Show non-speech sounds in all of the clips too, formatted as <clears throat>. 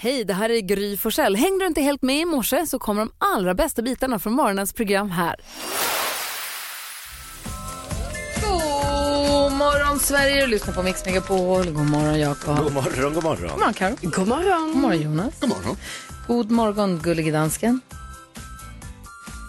Hej, det här är Gry Forssell. Hängde du inte helt med i morse så kommer de allra bästa bitarna från morgonens program här. God morgon Sverige, du lyssnar på Mix Megapol. God morgon Jakob. God morgon, god morgon. God morgon Karo. God morgon. God morgon Jonas. God morgon. God morgon gullige dansken.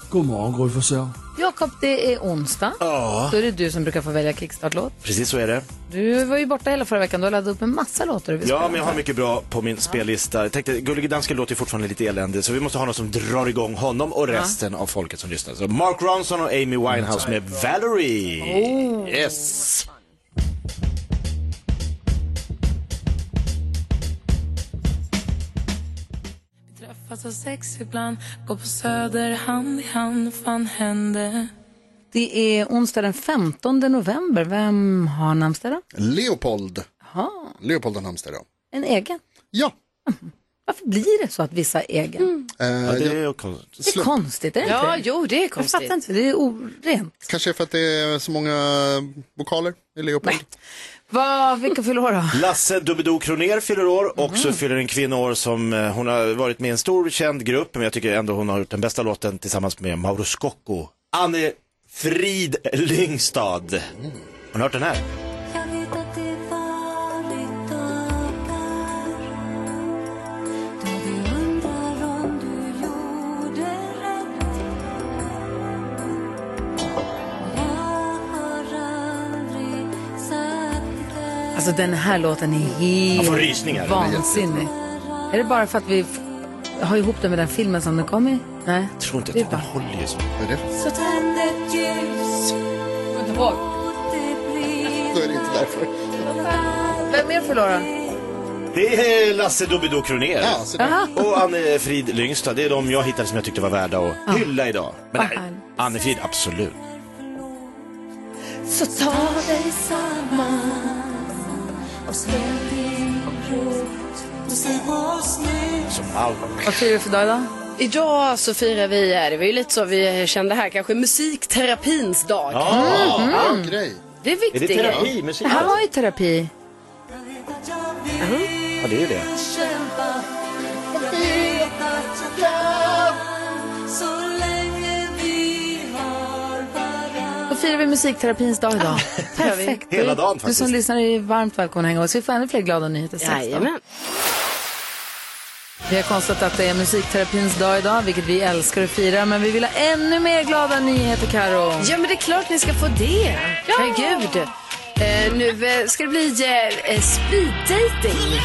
God morgon Gry Forssell. Jakob, det är onsdag. Ja, Då är det du som brukar få välja kickstartlåt. precis så är det. Du var ju borta hela förra veckan, du har laddat upp en massa låtar. du vill Ja, spela. men jag har mycket bra på min spellista. Jag tänkte, Gullige Dansken låter ju fortfarande lite elände, så vi måste ha någon som drar igång honom och resten av folket som lyssnar. Så Mark Ronson och Amy Winehouse med Valerie. Yes! Träffas av sex ibland, går på söder hand i hand, fan hände? Det är onsdag den 15 november. Vem har namnsdag då? Leopold. Jaha, Leopold av Halmstad, ja. en egen. Ja, Varför blir det så att vissa är egen? eh, Ja, det det... är ju konstigt. Det är konstigt, är det inte? Ja, jo, det är Jag fattar konstigt. inte, det är orent. kanske är för att det är så många vokaler i Leopold. Vad, vilka fyller år då? Lasse Doobidoo Kronér fyller år och så fyller en kvinna år som eh, hon har varit med i en stor känd grupp men jag tycker ändå hon har gjort den bästa låten tillsammans med Mauro Scocco. Anne Frid Lyngstad. Har ni hört den här? Jag vet att det var ditt öppet Då vi undrar om du gjorde rätt Jag har aldrig sagt det Alltså den här låten är Jag får helt rysningar. vansinnig. Är det bara för att vi f- har ihop det med den filmen som den kom i? Nej. Jag tror inte att Det är hon bara- håller ju så. Vad är det? Så tänd ett ljus Låt det bli Då är det inte därför. Vem mer fyller år då? Det är Lasse Doobidoo Kronér. Ja, så det. Och Anne Frid Lyngstad, det är de jag hittade som jag tyckte var värda att hylla idag. Men Vad härligt. nej, Anne Frid, absolut. Så ta dig Och spel din rot Och se oss nu Som allt. Vad firar vi för dag idag? Idag så firar vi, eh, det var ju lite så vi kände här, kanske musikterapins dag. Mm. Ja, Ja, grej. Det är Är det viktigt. terapi, musik? Det här var ju terapi. Jag vet att jag vill Ja, det är ju det. kämpa Jag vet att jag kan Så länge vi har Då varann firar vi musikterapins dag idag. Perfekt. Hela dagen Du faktiskt. som lyssnar är varmt välkommen att hänga oss. Vi får ännu fler glada nyheter strax. då. Jajamän. Vi har konstaterat att det är musikterapins dag idag, vilket vi älskar att fira. Men vi vill ha ännu mer glada nyheter, Karo. Ja, men det är klart ni ska få det. Ja. Herregud. Eh, nu eh, ska det bli eh, eh, speed dating.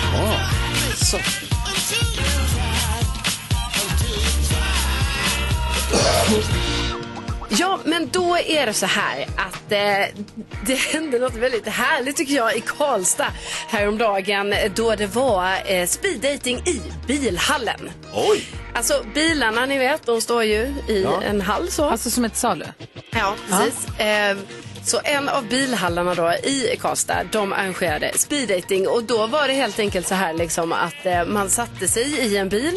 Ja, men då är det så här att eh, det hände något väldigt härligt tycker jag i Karlstad häromdagen eh, då det var eh, speed dating i bilhallen. Oj! Alltså bilarna ni vet, de står ju i en hall så. Alltså som ett salu. Ja, precis. Eh, så en av bilhallarna då i Karlstad, de arrangerade speeddating och då var det helt enkelt så här liksom att eh, man satte sig i en bil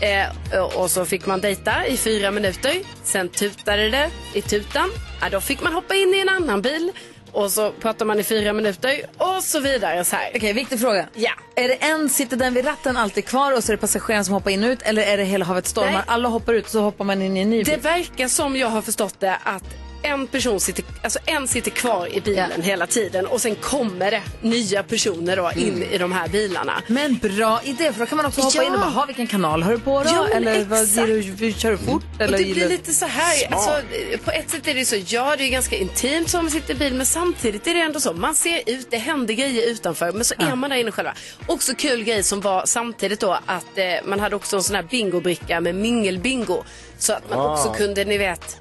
eh, och så fick man dejta i fyra minuter. Sen tutade det i tutan. Ja, då fick man hoppa in i en annan bil och så pratade man i fyra minuter och så vidare så här. Okej, viktig fråga. Ja. Är det en, sitter den vid ratten alltid kvar och så är det passageraren som hoppar in och ut eller är det hela havet stormar? Nej. Alla hoppar ut och så hoppar man in i en ny Det bil. verkar som jag har förstått det att en person sitter, alltså en sitter kvar i bilen Ja. hela tiden och sen kommer det nya personer då in i de här bilarna. Men bra idé, för då kan man också hoppa Ja. in och bara, "Ha, vilken kanal har du på då? Ja, men eller vad exakt. ger du, kör du fort? Och eller det gillar blir du- lite så här, alltså, på ett sätt är det så, ja det är ganska intimt som man sitter i bil men samtidigt är det ändå så, man ser ut, det händer grejer utanför men så är man där inne själva. Också kul grej som var samtidigt då att eh, man hade också en sån här bingobricka med mingelbingo. Så att man också kunde, ni vet,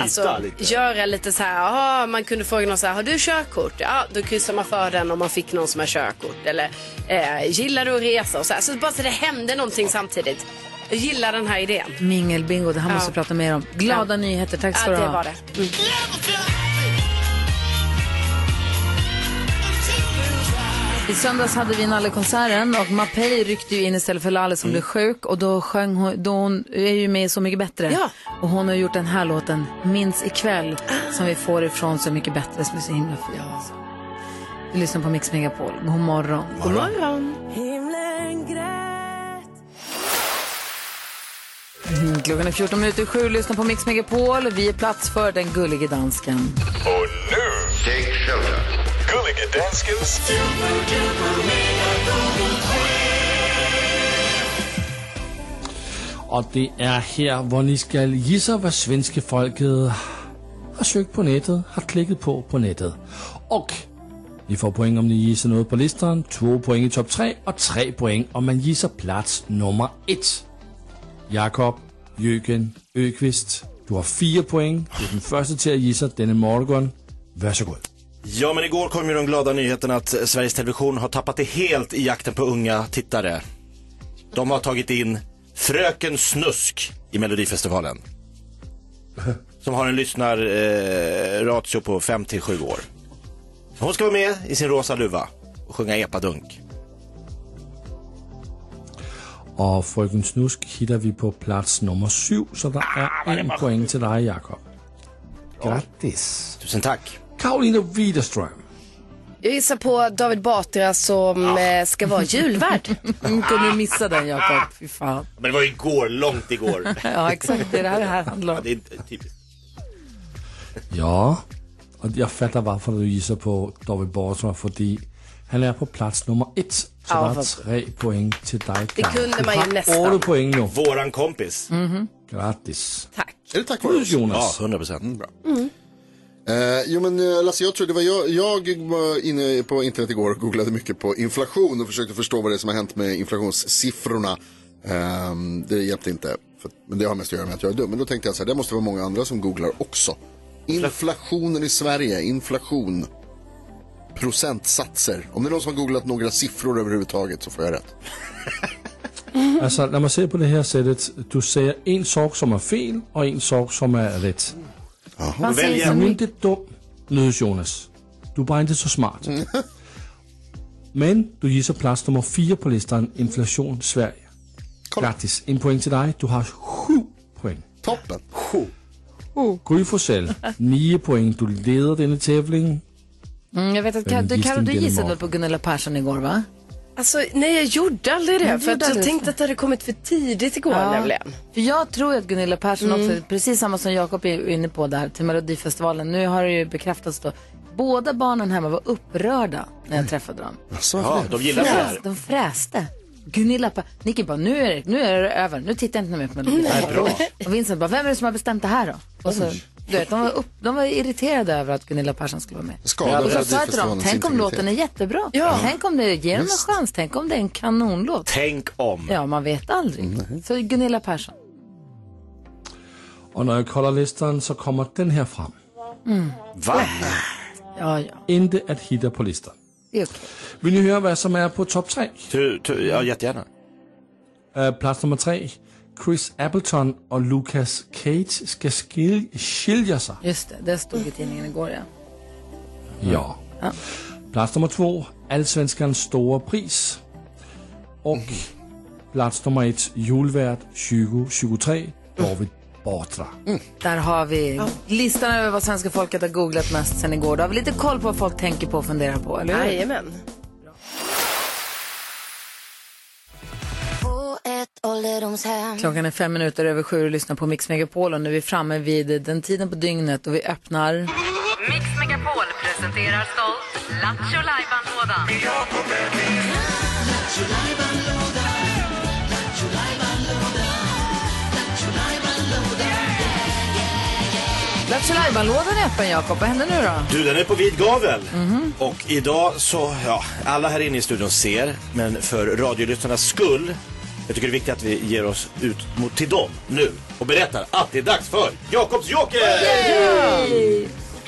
alltså, Byta lite. göra lite så här, aha, man kunde fråga någon så här, har du körkort? Ja, då kryssar man för den om man fick någon som har körkort. Eller eh, gillar du att resa? Och så, här. så bara så det hände någonting samtidigt. Jag gillar den här idén. Mingelbingo, det här måste vi prata mer om. Glada Ja. nyheter, tack ska Ja, du det ha. var det. I söndags hade vi Nallekonserten och Mapei ryckte ju in istället för Lalle som blev sjuk och då sjöng hon, då hon är ju med i Så mycket bättre. Ja. Och hon har gjort den här låten, Minns ikväll, som vi får ifrån Så mycket bättre som är så himla fin. Du lyssnar på Mix Megapol, god morgon. God morgon. Himlen grät Mm, Klockan är 14 minuter i sju, lyssna på Mix Megapol. Vi är plats för den gullige <laughs> dansken. Och nu, take shelter. Gullige danskens Og det er her, hvor ni skal gisse, hvad svenske folket har søgt på nettet, har klikket på på nettet. Og I får point, om ni gisser noget på listeren, 2 point i top 3, og 3 point, om man gisser plads nummer 1. Jakob Jøgen Øqvist, du har 4 point. Du er den første til at gisse denne morgen. Vær så god. Ja, men igår kom ju den glada nyheten att Sveriges Television har tappat det helt i jakten på unga tittare. De har tagit in Fröken Snusk i Melodifestivalen. Som har en lyssnarratio eh, ratio på 5 till 7 år. Hon ska vara med i sin rosa luva och sjunga epadunk. Og Frøken Snusk hitter vi på plads nummer 7, så der er en point til dig, Jakob. Grattis. Tusen tack. Karoline Widerström. Jag gissar på David Batra som eh, ska vara julvärd. Mm, kunde du missa den Jakob? Fy fan. Men det var igår, <laughs> långt igår. Ja, exakt. Det är det här det här handlar om. det är inte typ typiskt. Ja, og jeg fatter, hvorfor du iser på David Bortram, fordi han er på plads nummer et, så der er tre point til dig. Det kunde man jo næsten. 8 point nu. Våran kompis. Mm. Grattis. Är det tack vare Du, oss? Ja, Mm, Jonas. 100 procent. Eh, jo men eh, Lasse, jag tror det var jag, jag var inne på internet igår och googlade mycket på inflation och försökte förstå vad det är som har hänt med inflationssiffrorna. Ehm, det hjälpte inte. För, men det har mest att göra med att jag är dum. Men då tänkte jag så här, det måste vara många andra som googlar också. Inflationen i Sverige, inflation, procentsatser. Om det är någon som har googlat några siffror överhuvudtaget så får jag rätt. Altså, lad mig se på det her sættet. Du siger en sorg, som er fel, og en sorg, som er ret. Man Välj säger så Du er mycket. ikke dum, nydes Jonas. Du er bare ikke så smart. <laughs> Men du giser plads nummer 4 på listen, inflation Sverige. Grattis. En point til dig. Du har 7 point. Toppen! Gry Forssell, 9 point. Du leder denne tävling. Mm, jag vet att Ka- Men du, gissning Karo, du genom gissade mat. väl på Gunilla Persson igår va? Alltså, nej, jag gjorde aldrig det. Nej, du för att gjorde jag aldrig det. tänkte att det hade kommit för tidigt igår nämligen. För jag tror att Gunilla Persson också, precis samma som Jakob är inne på där till Melodifestivalen, nu har det ju bekräftats då, båda barnen hemma var upprörda när jag träffade dem. Ja, de gillar det Fräs, här. de fräste. Gunilla pa- Nicky bara, nu är, det, nu är det över, nu tittar jag inte mer på Melodifestivalen. Och Vincent bara, vem är det som har bestämt det här då? Och så, du vet, de, var upp, de var irriterade över att Gunilla Persson skulle vara med. Skadade och så sa jag till dem, Melodifestivalens tänk om integritet." låten är jättebra. Tänk om det ger dem en chans, tänk om det är en kanonlåt. Tänk om. Ja, man vet aldrig. Så Gunilla Persson. Og når jeg kolder listen, så kommer den her frem. Va? Ja, ja. Inte at hitte på listen. Det är okej. Vil I høre, hvad som er på top 3? Tu, tu, ja, jättegärna. Uh, plads nummer 3. Chris Appleton og Lucas Cage skal skille, skilje sig. Just det, det stod i tidningen igår ja. Ja. Plads nummer 2. Allsvenskans store pris. Og plads nummer 1. Julvært 2023. David Bortra. Där har vi listan över vad svenska folket har googlat mest sen igår. Då har vi lite koll på vad folk tänker på och funderar på, eller hur? Jajamän. Klockan är fem minuter över sju och lyssnar på Mix Megapol och nu är vi framme vid den tiden på dygnet då vi öppnar Mix Megapol presenterar stolt Lattjo Lajban-lådan. Lattjo Lajban-lådan är öppen, Jakob. Vad händer nu då? Du, den är på vid gavel. Mhm. Och idag så, ja, alla här inne i studion ser, men för radiolyssnarnas skull, jag tycker det är viktigt att vi ger oss ut mot, till dem nu och berättar att det är dags för Jakobs Joker!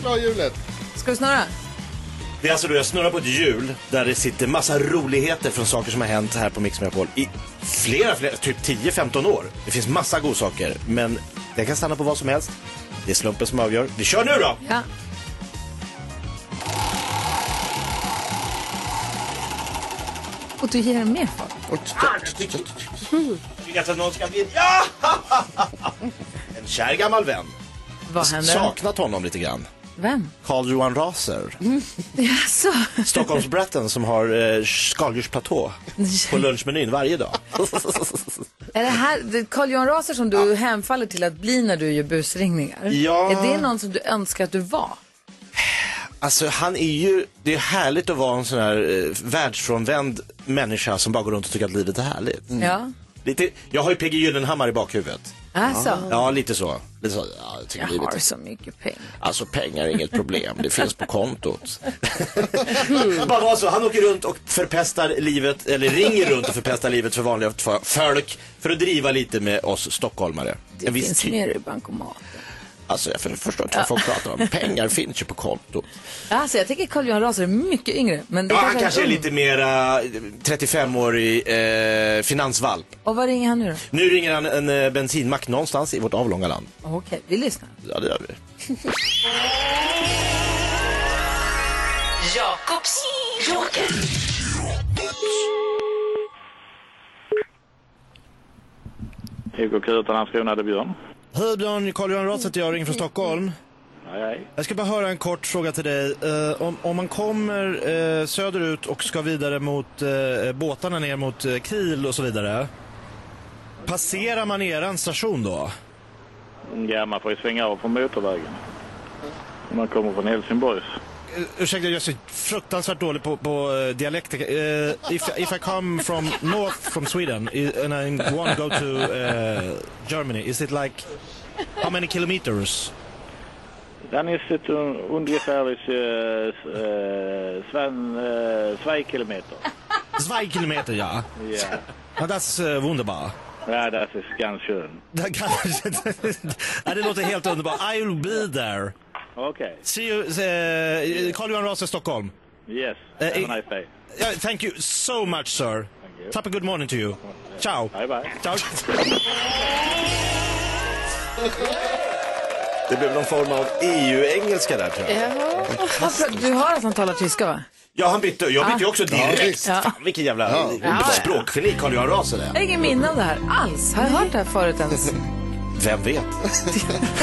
Klar hjulet! Ska du snurra? Det är alltså då jag snurrar på ett hjul där det sitter massa roligheter från saker som har hänt här på Mix Megapol i flera, flera, typ 10-15 år. Det finns massa godsaker, men det kan stanna på vad som helst. Det är slumpen som avgör. Vi kör nu då! Ja. Och du ger mer folk. Tycker att någon ska bli... Ja! <laughs> En kär gammal vän. Vad händer? Saknat honom lite grann. Vem? Karl Johan Raser. Jaså? Stockholmsbrätten som har eh, skaldjursplatå på lunchmenyn varje dag. Är det här det är Carl Johan Raser som du hemfaller till att bli när du gör busringningar? Ja. Mm. Är det någon som du önskar att du var? Alltså han är ju, det är härligt att vara en sån här eh, världsfrånvänd människa som bara går runt och tycker att livet är härligt. Mm. Ja. Lite, jag har ju P.G. Gyllenhammar i bakhuvudet. Alltså, Ja, lite så. Lite så ja, jag tycker jag livet har är... så mycket pengar. Alltså pengar är inget problem, det finns på kontot. Mm. <laughs> bara vara så, han åker runt och förpestar livet, eller ringer runt och förpestar livet för vanliga f- folk för att driva lite med oss stockholmare. Det En viss finns typ. mer i bankomaten. Alltså jag för- förstår inte vad folk pratar om, pengar finns ju på kontot. Alltså, jag tänker Carl Johan Raser är mycket yngre. Men det Ja, han kanske är ung. lite mera eh, 35-årig eh, finansvalp. Och vad ringer han nu då? Nu ringer han en eh, bensinmack någonstans i vårt avlånga land. Okej, vi lyssnar. Ja, det gör vi. Jakobs Joker. IKQ utan Landskrona, det är Björn. Hej Björn, Carl-Johan Rath heter jag, ringer från Stockholm. Hej, hej. Jag ska bara höra en kort fråga till dig. Eh, om, om man kommer eh, söderut och ska vidare mot eh, båtarna ner mot eh, Kiel och så vidare. Passerar man eran station då? Ja, man får ju svänga av från motorvägen. Om Man kommer från Helsingborg. Uh, ursäkta, jag är så fruktansvärt dålig på, på eh, dialekt. Eh, if, if I come from north from Sweden i- and I want to go to eh, Germany, is it like how many kilometers? Den är sitt un- ungefär eh, sven, eh, zwei kilometer. <laughs> Zwei kilometer, ja. Ja. Ja, das är wunderbar. Ja, det är ganz schön. Det, kanske, ja, det låter helt underbart. I will be there. Okej. See you, eh, Carl Johan Raser, Stockholm. Yes. Eh, Have eh, a nice day. Yeah, thank you so much, sir. you. Tap a good morning to you. Ciao. Bye, bye. Ciao. Det blev någon form av EU-engelska där tror jag. Vad bra, Du hör att han talar tyska va? Ja, han bytte. Jag bytte ju också Ja, direkt. visst. Fan, vilken jävla Ja. Ja, ja. språkgeni Carl Johan Raser Jag är. har ingen minne av det här alls. Har jag hört det här förut <laughs> ens? <laughs> Vem vet?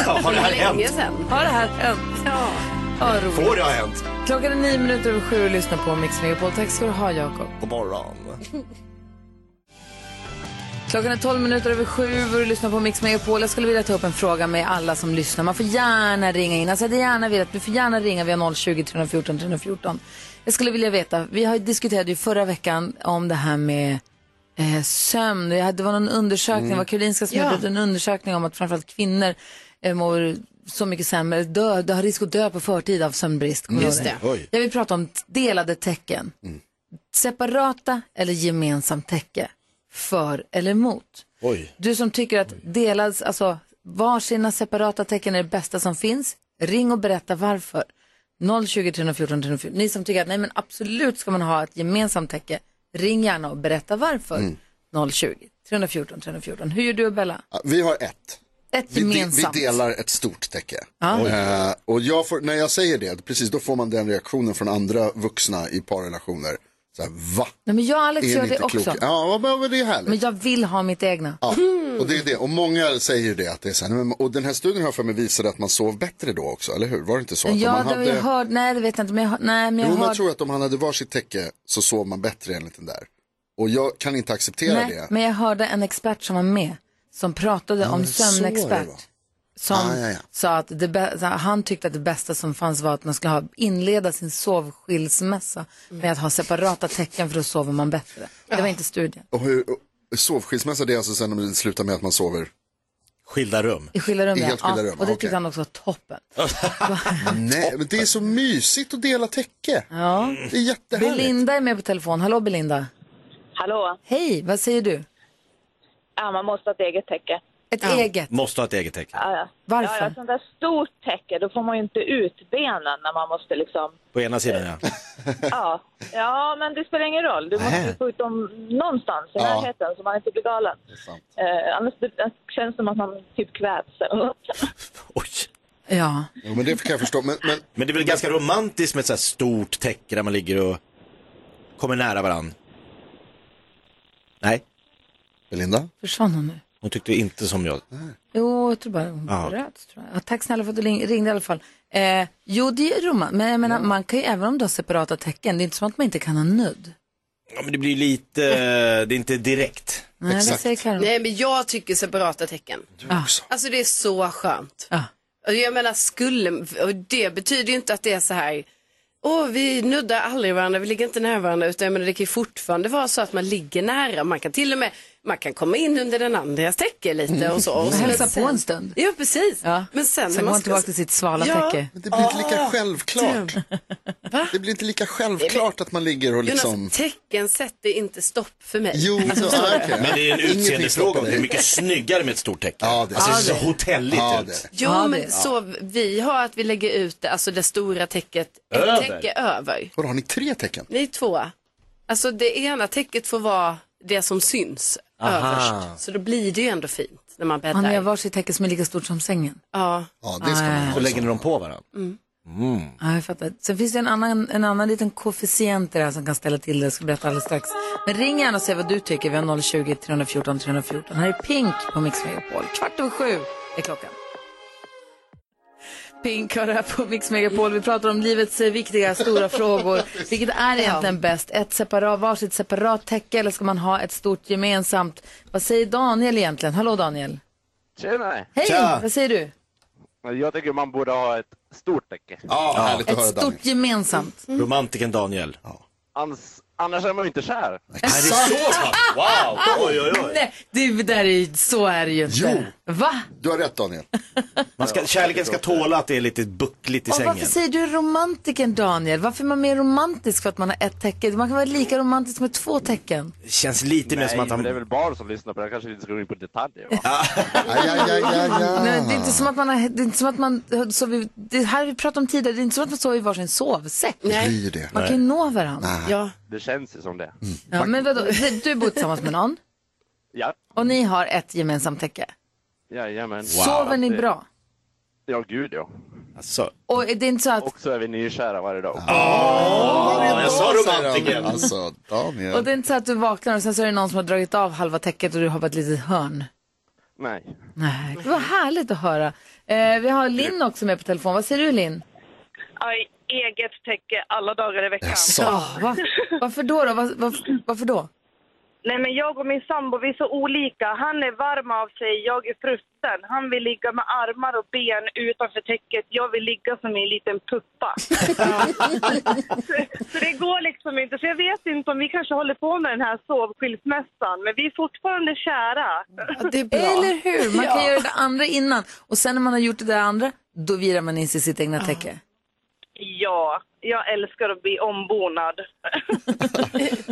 ja, har det här Länge hänt? sedan. Har det här hänt? Ja. Vad roligt. Får det ha hänt? Klockan är nio minuter över sju och lyssna på Mix Megapol. Tack ska du ha, Jakob. God morgon. Klockan är 12 minuter över sju och du lyssnar på Mix Megapol. Jag skulle vilja ta upp en fråga med alla som lyssnar. Man får gärna ringa in. Alltså jag hade gärna velat, du får gärna ringa via 020 314 314. Jag skulle vilja veta, vi har ju diskuterat ju förra veckan om det här med eh, sömn. Jag hade- Det var någon Mm. undersökning, det var Karolinska som gjorde en undersökning om att framförallt kvinnor eh, mår så mycket sämre, dö, dö, har risk att dö på förtid av sömnbrist. Kommer du ihåg Just det. Oj. Jag vill prata om delade tecken. Separata eller gemensamt täcke. För eller emot. Oj. Du som tycker att delad, alltså varsina separata tecken är det bästa som finns. Ring och berätta varför. 020 314 314. Ni som tycker att nej men absolut ska man ha ett gemensamt täcke. Ring gärna och berätta varför. Mm. 020 314 314. Hur gör du Bella? Vi har ett. Ett Vi, de, vi gemensamt. delar ett stort täcke. Eh, och jag får, när jag säger det, precis då får man den reaktionen från andra vuxna i parrelationer. Så här, va? Nej, men jag och Alex Är gör ni det inte också. kloka? Ja, men men det är härligt. Men jag vill ha mitt egna. Ja, och det är det. Och många säger det att det är så här, men, och den här studien har jag för mig visade att man sov bättre då också, eller hur? Var det inte så? Att om Ja, man det, jag hörde, nej det vet jag inte, men jag, hör- nej, men jag Jo, men hörde... jag tror att om han hade varsitt täcke så sov man bättre enligt den där. Och jag kan inte acceptera Nej, det. men jag hörde en expert som var med som pratade om det är så det var. sömnexpert. Som Ah, ja, ja. sa att det bä- så han tyckte att det bästa som fanns var att man ska ha, inleda sin sovskilsmässa med att ha separata tecken för då sover man bättre. Det var inte studien. Och hur, och, sovskilsmässa det är alltså sen när det slutar med att man sover. Skilda rum. I skilda rum, I ja. helt skilda Ja, rum, Och det okej. tyckte han också var toppen. Nej, men det är så mysigt att dela täcke. Ja. Det är jättehärligt. Belinda är med på telefon. Hallå Belinda. Hallå? Hej, vad säger du? Ja, man måste ha ett eget täcke. Ett eget. Måste ha ett eget tecken. Ja, ja. Varför? Ja, ja, sånt där stort täcke, då får man ju inte ut benen när man måste liksom... På ena <laughs> sidan ja. Ja, ja men det spelar ingen roll. Du måste ju få ut dem någonstans i Ja. närheten så man inte blir galen. Det är sant. Eh, annars det, det känns det som att man typ kvävs eller något. Oj. Ja. Jo, men det kan jag förstå. Men, men Men det är väl ganska romantiskt med ett så här stort täcke där man ligger och kommer nära varann. Nej, Belinda? Försvann hon nu? hon tyckte inte som jag. Jo, jag tror bara hon Ja. bröt. Tror jag. Ja, tack snälla för att du ling- ringde i alla fall. Eh, jo, det är roman. Men jag menar, man kan ju även om du har separata tecken, det är inte som att man inte kan ha nudd. Ja, men det blir lite, eh, det är inte direkt. Nej, vad säger Karo? Nej, men jag tycker separata tecken. Ja. Alltså det är så skönt. Och Alltså, Jag menar skulle, och det betyder ju inte att det är så här, åh vi nuddar aldrig varandra, vi ligger inte nära varandra, utan jag menar det kan ju fortfarande vara så att man ligger nära, man kan till och med, man kan komma in under den andras täcke lite och så. Och så Hälsa sen- Mm. på en stund. Ja, precis. Men sen, Sen går man tillbaka till sitt svala täcke. Men det blir inte Ah, lika självklart. Det blir inte lika självklart att man ligger och liksom... Jonas, tecken sätter inte stopp för mig. Jo, Alltså, så- ah, okej. Men det är <laughs> en Ingenting utseendefråga stoppar om det dig. är mycket snyggare med ett stort tecken. Ja, det alltså det ser Ja, så det. hotelligt Ja, ut. Jo, men så vi har att vi lägger ut det, alltså det stora täcket, ett Över. täcke över. Vadå, har ni tre tecken? Nej, två. Alltså det ena täcket får vara det som syns Aha. överst. Så då blir det ju ändå fint när man bäddar. Han har varsitt täcke som är lika stort som sängen. Ja. Ja, det ska man ha. Så lägger ni dem på varandra? Mm. Mm. Ja, jag fattar. Sen finns det en annan, en annan liten koefficient i det här som kan ställa till det. Jag ska berätta alldeles strax. Men ring gärna och säg vad du tycker. Vi har 020-314 314. Här är Pink på Mix Megapol. Kvart över sju är klockan. Pink har det här på Mix Megapol. Vi pratar om livets eh, viktiga stora frågor. Vilket är egentligen bäst? Ett separat, varsitt separat täcke eller ska man ha ett stort gemensamt? Vad säger Daniel egentligen? Hallå Daniel. Tjena! Hej, vad säger du? Jag tycker man borde ha ett stort täcke. Ja, härligt Ett stort gemensamt. Romantiken Daniel. Ja. Annars, annars är man ju inte kär. Är det så? Wow! <laughs> Oj, oj, oj. Nej, du, där är, ju- så är det ju inte. Jo. Va? Du har rätt Daniel. Man ska, kärleken ska tåla att det är lite buckligt i Och varför sängen. säger du romantiken Daniel? Varför är man mer romantisk för att man har ett tecken? Man kan vara lika romantisk med två tecken. Det känns lite mer som att men det är han... väl barn som lyssnar på det här, kanske inte ska gå in på detaljer va? Nej, det är inte som att man, har, det är inte som att man sover, det här vi pratade om tidigare, det är inte som att man sover i varsin sovsäck. blir det. Man kan ju nå varandra. Ja. Det känns ju som det. Mm. Ja, men vadå, du bor tillsammans med någon Ja, och ni har ett gemensamt täcke. jajamän. Sover ni Det- bra? Ja, gud ja. Alltså. Och är det är inte så att Och så är vi nykära varje dag. Ja, jag sa romantiken. Alltså, Och Daniel. det är inte så att du vaknar och sen så är det någon som har dragit av halva täcket och du har bara ett litet hörn. Nej. Nej. Det var härligt att höra. Eh, vi har Linn också med på telefon. Vad säger du Linn? Aj, eget täcke alla dagar i veckan. Ah, va, varför då? då? Va, va, varför då? Nej, men jag och min sambo, vi är så olika. Han är varm av sig, jag är frusen. Han vill ligga med armar och ben utanför täcket. Jag vill ligga som i en liten puppa. så, så det går liksom inte. Så jag vet inte om vi kanske håller på med den här sovskilsmässan, men vi är fortfarande kära. det är Eller hur? Man kan Ja. göra det andra innan. Och sen när man har gjort det där andra, då virar man in sig i sitt egna täcke. Ja, jag älskar att bli ombonad.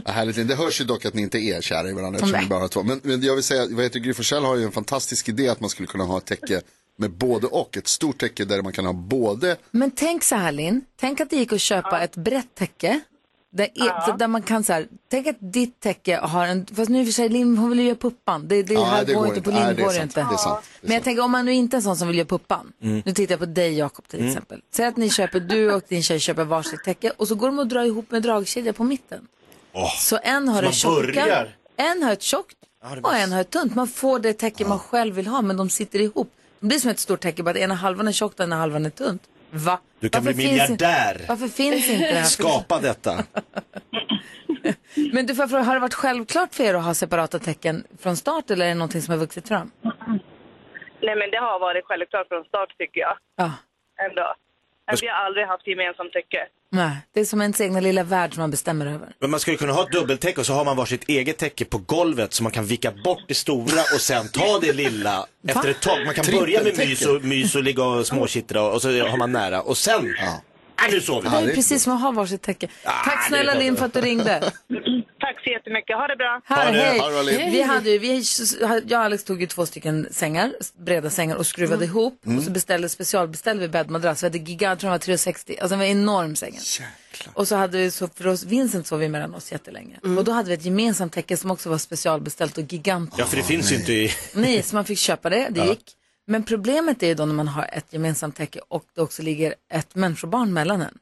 Ja, härligt. Det hörs ju dock att ni inte är kära i varandra eftersom ni bara har två. Men, men jag vill säga, vad heter Gry Forssell har ju en fantastisk idé att man skulle kunna ha ett täcke med både och. Ett stort täcke där man kan ha både. Men tänk så här Linn, tänk att det gick att köpa ett brett täcke. Där, e- så där man kan så här, tänk att ditt täcke har en, fast nu i och för sig Linn hon vill ju göra puppan. Det, det Ja, här det går går inte, på inte. Linn Nej, det är går det sant. inte. Det är sant. Det är Men jag tänker om man nu inte är en sån som vill göra puppan. Nu tittar jag på dig Jakob till Mm. exempel. Säg att ni köper, du och din tjej köper varsitt täcke och så går de och drar ihop med dragkedja på mitten. Så en har Så det man tjocka, börjar. en har ett tjockt Ja, det och blir- en har ett tunt. Man får det täcke man själv vill ha men de sitter ihop. Det blir som ett stort täcke bara att ena halvan är tjockt och ena halvan är tunt. Va? Du kan Varför bli finns- miljardär. Varför finns inte det här? Skapa detta. Men du, får jag fråga, har det varit självklart för er att ha separata tecken från start eller är det någonting som har vuxit fram? Nej, men det har varit självklart från start tycker jag. Ja. Ändå. Men vi har aldrig haft gemensamt täcke. Nej, det är som ens egna lilla värld som man bestämmer över. Men man skulle kunna ha ett dubbeltäcke och så har man varsitt eget täcke på golvet så man kan vika bort det stora och sen ta det lilla efter ett tag. Man kan börja med Trippeltäcke. mys och, mys och ligga och småkittra och så har man nära och sen, äh, nu sover vi. det är precis som att ha varsitt täcke. Tack snälla det är Linn för att du ringde. <laughs> Tack så jättemycket. Ha det bra. Här, hej. Vi hade ju, vi, jag och Alex tog ju två stycken sängar, breda sängar och skruvade ihop. Mm. Och så beställde, specialbeställde vi bäddmadrass. Vi hade gigant, tror jag den var 3,60. Alltså den var enorm sängen. Och så hade vi, så för oss, Vincent sov ju mellan oss jättelänge. Mm. Och då hade vi ett gemensamt täcke som också var specialbeställt och gigantiskt. Ja, för det finns ju inte i... Nej, så man fick köpa det, det Ja. gick. Men problemet är ju då när man har ett gemensamt täcke och det också ligger ett människobarn mellan en.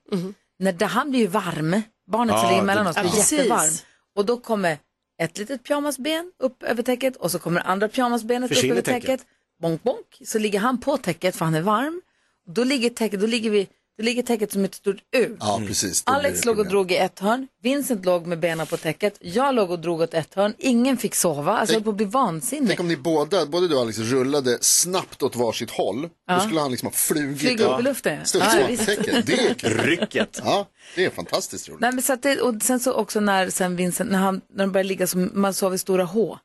När det, han blir ju varm, barnet som Ja, ligger det- mellan oss ja. blir Precis. jättevarm. Och då kommer ett litet pyjamasben upp över täcket och så kommer det andra pyjamasbenet Försvinner upp över täcket. täcket. Bonk, bonk. Så ligger han på täcket för han är varm. Då ligger täcket, då ligger vi Det ligger täcket som ett stort U. Ja, precis. Då blir Alex det låg och problem. drog i ett hörn, Vincent låg med benen på täcket, jag låg och drog åt ett hörn, ingen fick sova, alltså jag höll på att bli vansinnig. Tänk om ni båda, både du och Alex, rullade snabbt åt varsitt håll. Ja. Då skulle han liksom ha flugit. Flyga upp i luften. Stort Ja, som visst. tecken. Det är kul. Rycket. Ja, det är fantastiskt roligt. Nej, men så att det, och sen så också när sen Vincent, när han, när de börjar ligga som, man sover i stora H.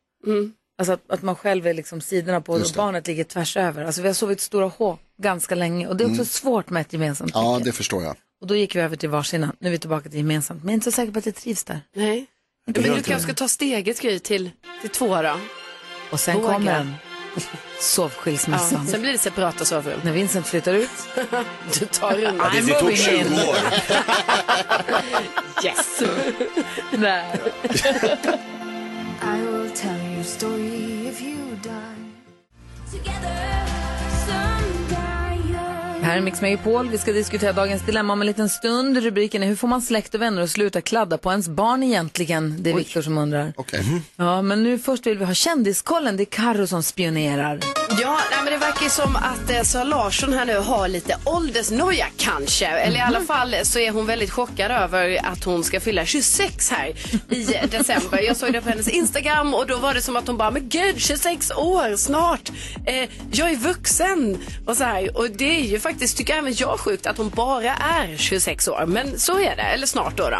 Alltså att, att man själv är liksom sidorna på och Just det. barnet ligger tvärs över. Alltså vi har sovit i stora H ganska länge och det är också Mm. svårt med ett gemensamt Ja, täcke. det förstår jag. Och då gick vi över till varsina. Nu är vi tillbaka till gemensamt. Men jag är inte så säker på att jag trivs där. Nej. Men du kanske ska ta steget Gry till, till två då. Och sen Våga. kommer den. <laughs> Sovskilsmässan. Ja, sen blir det separata sovrum. När Vincent flyttar ut. Alltså. Du tar undan. Ja, det- det tog 20 år. yes. <laughs> Nej. I will tell you a story if you die. Det här är Mix Megapol. Vi ska diskutera dagens dilemma om en liten stund. Rubriken är Hur får man släkt och vänner att sluta kladda på ens barn egentligen? Det är Viktor som undrar. Okej. Ja, men nu först vill vi ha kändiskollen. Det är Karo som spionerar. Ja, nej, men det verkar ju som att eh, Sara Larsson här nu har lite åldersnoja kanske. Eller i alla fall så är hon väldigt chockad över att hon ska fylla 26 här i december. Jag såg det på hennes Instagram och då var det som att hon bara, men gud 26 år snart. Eh, jag är vuxen och så här. Och det är ju faktiskt, tycker även jag, sjukt att hon bara är 26 år. Men så är det, eller snart då. då.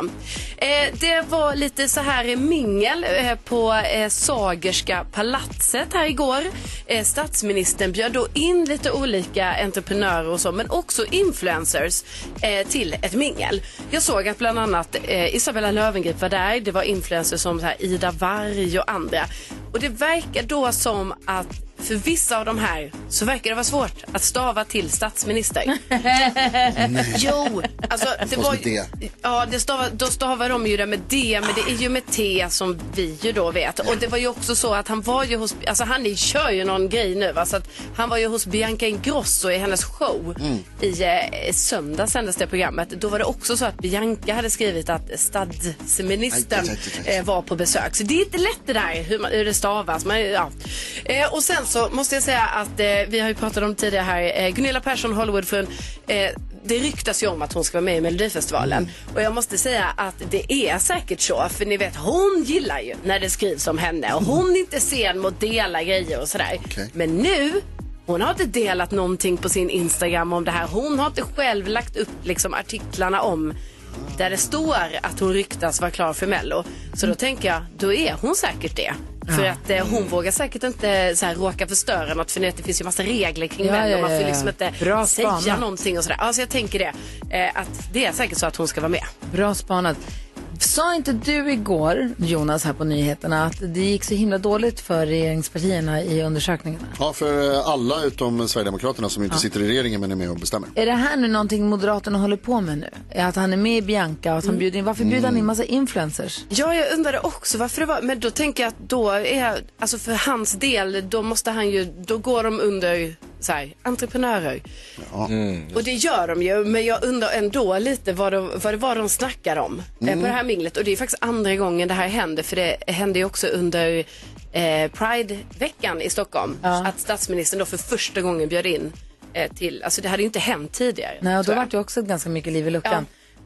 Eh, det var lite så här mingel eh, på eh, Sagerska palatset här igår. Eh, statsministern bjöd då in lite olika entreprenörer och så, men också influencers eh, till ett mingel. Jag såg att bland annat eh, Isabella Löwengrip var där. Det var influencers som så här Ida Warg och andra. Och det verkar då som att för vissa av de här så verkar det vara svårt att stava till statsminister. jo, alltså det Fast var med det. Ja, det stavar, då stavar de ju det med D, men det är ju med T som vi ju då vet. Och det var ju också så att han var ju hos, alltså han är, kör ju någon grej nu va, så att han var ju hos Bianca Ingrosso i hennes show. Mm. I eh, söndag sändes det programmet. Då var det också så att Bianca hade skrivit att stadsministern Aj, aj, aj, eh, var på besök. Så det är inte lätt det där hur, man, hur det stavas. Men, ja. eh, och sen så måste jag säga att eh, vi har ju pratat om tidigare här, eh, Gunilla Persson, Hollywoodfrun. Eh, det ryktas ju om att hon ska vara med i Melodifestivalen. Och jag måste säga att det är säkert så. För ni vet, hon gillar ju när det skrivs om henne. Och hon är inte sen mot dela grejer och sådär. Okej. Men nu, hon har inte delat någonting på sin Instagram om det här. Hon har inte själv lagt upp liksom artiklarna om där det står att hon ryktas vara klar för Mello. Så då tänker jag, då är hon säkert det. För Ja. att eh, hon vågar säkert inte så här, råka förstöra något för ni vet, det finns ju massa regler kring Ja, Mello. ja, Man ja, får ja. liksom inte Bra säga spanat. någonting och sådär. Alltså jag tänker det. Eh, att det är säkert så att hon ska vara med. Bra spanat. Sa inte du igår, Jonas, här på nyheterna att det gick så himla dåligt för regeringspartierna i undersökningarna? Ja, för eh, alla utom Sverigedemokraterna som inte sitter i regeringen men är med och <laughs> bestämmer. Är det här nu någonting Moderaterna håller på med nu? Är Att han är med i Bianca och att han bjuder in, varför bjuder han in massa influencers? Ja, jag undrade också varför det var. Men då tänker jag att då är, alltså för hans del, då måste han ju, då går de under så här, entreprenörer. Och det gör de ju, men jag undrar ändå lite vad, de, vad det var de snackar om eh, Mm. på det här minglet. Och det är faktiskt andra gången det här händer, för det hände ju också under eh, Pride-veckan i Stockholm. Att statsministern då för första gången bjöd in eh, till, alltså det hade ju inte hänt tidigare. Nej, och då vart det också ganska mycket liv i luckan.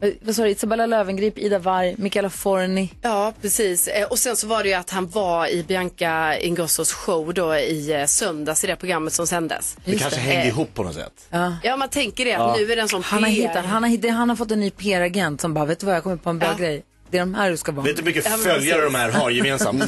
Eh, Vad sa du, Isabella Löwengrip, Ida Warg, Michaela Forni. Ja, precis. Eh, Och sen så var det ju att han var i Bianca Ingrossos show då i eh, söndags i det programmet som sändes. Det kanske hänger ihop på något sätt. Ja. Ja, man tänker det. Att Ja. Nu är den som Han har, PR. hittat, han, har, hitt- han har fått en ny PR-agent som bara, vet du vad, jag kommer på en bra grej. Det är de här du ska vara Vet du hur med. mycket Ja, men följare precis. Mm. de här har gemensamt?